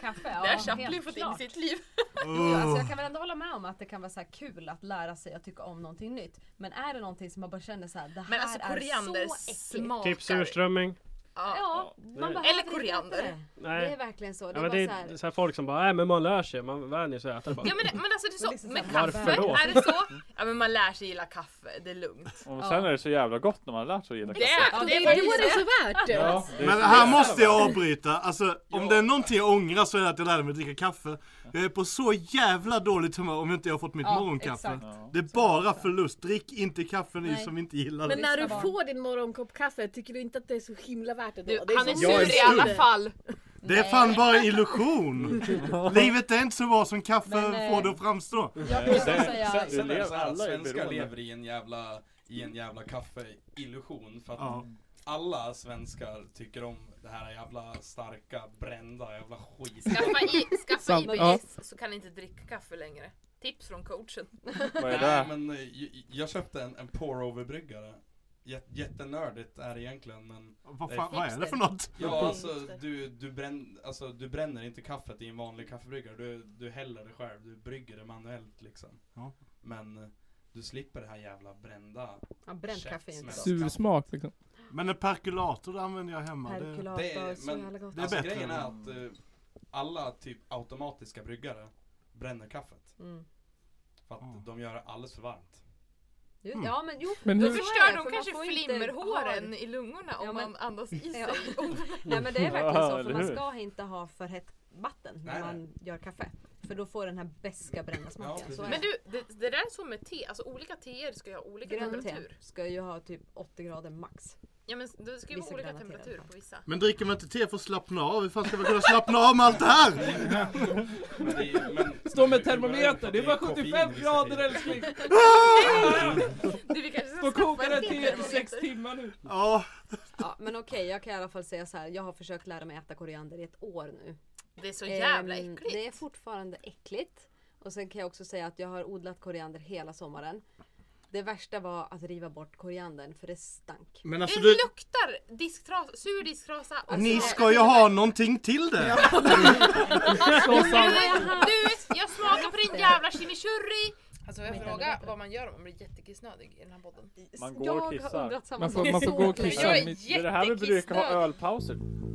S9: Kaffe, ja.
S11: Där har
S9: helt
S11: Chaplin fått in
S9: klart.
S11: sitt liv.
S9: Jo, alltså
S5: Oh.
S9: jag kan väl ändå hålla med om att det kan vara så här kul att lära sig att tycka om någonting nytt. Men är det någonting som man bara känner så här, det här
S11: Men alltså
S9: är
S11: koriander
S9: så äckligt.
S11: smakar...
S8: Typ surströmming.
S11: Ja.
S9: Ja, man behöver
S11: Eller
S9: inte
S11: koriander.
S9: det. Det är
S8: Nej.
S9: verkligen så. Det
S8: Ja,
S9: är
S8: men det
S9: bara så här,
S8: är så här folk som bara, nej men man lär sig, man vänjer sig att äta det bara.
S11: Ja men, men alltså det är så,
S9: Men liksom
S11: med
S9: så här,
S11: kaffe,
S8: varför då?
S11: är det så? Ja men man lär sig gilla kaffe, det är lugnt.
S2: Och sen är det så jävla gott när man har lärt sig att gilla
S11: Det,
S2: kaffe.
S9: Ja,
S11: är
S7: Det
S11: det
S7: är,
S9: är
S7: då
S11: var ju
S7: är det så värt det.
S2: Ja, det är
S5: Men
S2: så
S5: här
S2: jävla
S5: måste
S2: bra.
S5: jag avbryta, alltså om det är någonting jag ångrar så är det att jag lärde mig att dricka kaffe. Jag är på så jävla dåligt humör om inte jag har fått mitt
S9: Ja,
S5: morgonkaffe.
S9: exakt.
S2: Ja.
S5: Det är bara förlust, drick inte kaffe ni
S9: Nej.
S5: som inte gillar
S7: Men
S5: det.
S7: när du
S9: Lyssna
S7: får din morgonkopp kaffe tycker du inte att det är så himla värt det då?
S11: Du,
S7: det
S11: han är
S7: så
S5: Jag är
S11: sur i
S5: sur.
S11: alla fall.
S5: Det är fan bara en illusion! Livet är inte så bra som kaffe
S9: Men, eh,
S5: får det att framstå.
S9: jag kan också
S2: Sen-
S9: säga,
S6: Sen, sen är det så här,
S2: Alla är
S6: svenskar
S2: beroende.
S6: lever i en jävla, i en jävla kaffeillusion för att
S5: Ja.
S6: alla svenskar tycker om det här jävla starka, brända jävla skit.
S11: Skaffa, i, skaffa
S1: Sant.
S11: IBS så kan ni inte dricka kaffe längre. Tips från coachen.
S2: Vad är
S6: Nej,
S2: det?
S6: men eh, j- jag köpte en, en pour-over-bryggare. Jät- Jättenördigt är det egentligen men
S5: Vad, fan, vad är det för något?
S6: Ja alltså du, du, brän, alltså du bränner inte kaffet i en vanlig kaffebryggare. Du, du häller det själv. Du brygger det manuellt liksom.
S5: Ja.
S6: Men eh, du slipper det här jävla brända.
S9: ja, bränt kaffe är ju inte
S6: Käftsmäll.
S9: gott.
S1: Sur smak liksom.
S5: Men en perkulator det använder jag hemma. Det,
S6: Det
S9: Perkulator,
S6: är,
S9: så
S6: men
S9: jävla gott.
S5: Det är
S6: alltså,
S5: bättre.
S6: grejen är att eh, alla typ automatiska bryggare bränner kaffet.
S9: Mm.
S6: För att
S5: Mm.
S6: de gör det alldeles för varmt.
S9: Jo,
S5: Mm.
S9: Ja men jo,
S1: Men
S11: Då
S1: hur-
S9: så är det,
S11: förstör
S9: för
S11: de
S9: man
S11: kanske
S9: får inte
S11: flimmerhåren
S9: ha-
S11: i lungorna om
S9: Ja, men-
S11: man andas i sig.
S9: Ja. Nej men det är verkligen
S2: Ja,
S9: så för
S2: eller
S9: man
S2: hur?
S9: ska inte ha för hett vatten när
S6: Nej,
S9: man gör kaffe. För då får den här beska brända smaken.
S6: precis.
S9: så är
S11: Men
S9: det.
S11: du, det, det där är så med te, alltså olika teer ska ju ha olika
S9: Grönt
S11: temperatur.
S9: te ska ju ha typ 80 grader max.
S11: Ja men då ska ju vara
S9: Vissa gröna teer i
S11: olika
S9: alla
S11: temperaturer på vissa.
S5: Men dricker man inte te för att slappna av, hur fan ska man kunna slappna av med allt det här?
S6: Men det är, men,
S1: Stå med
S6: hur- hur
S1: termometer, det är bara
S6: koffein liksom,
S1: 75
S6: i sig?
S1: grader älskling!
S11: Du vi kanske
S1: Stå
S11: ska
S1: och koka
S11: skaffa
S1: det
S11: en
S1: till
S11: till
S1: i sex timmar nu!
S5: Ja,
S3: Ja, men okej, jag kan i alla fall säga så här. Jag har försökt lära mig äta koriander i ett år nu.
S11: Det är så jävla
S3: Ehm,
S11: äckligt.
S3: Det är fortfarande äckligt. Och sen kan jag också säga att jag har odlat koriander hela sommaren. Det värsta var att riva bort koriandern för det stank.
S5: men alltså
S11: det
S5: du,
S11: luktar disktrasa, sur disktrasa och
S5: ni
S11: så-
S5: ska ju ha någonting till det.
S1: Så
S11: Du,
S1: sant!
S11: du, jag smakar på din jävla chimichurri!
S4: Alltså får jag fråga vad man gör om man blir jättekissnödig i den här podden?
S2: Man går
S3: jag
S2: och
S3: har
S2: kissar.
S3: undrat samma
S1: Man får,
S3: sak
S1: man får
S3: så
S1: gå och
S3: länge.
S1: kissa.
S4: Jag är
S1: mitt-
S2: Det är det här vi brukar ha
S4: jättekissnödig.
S2: ölpauser.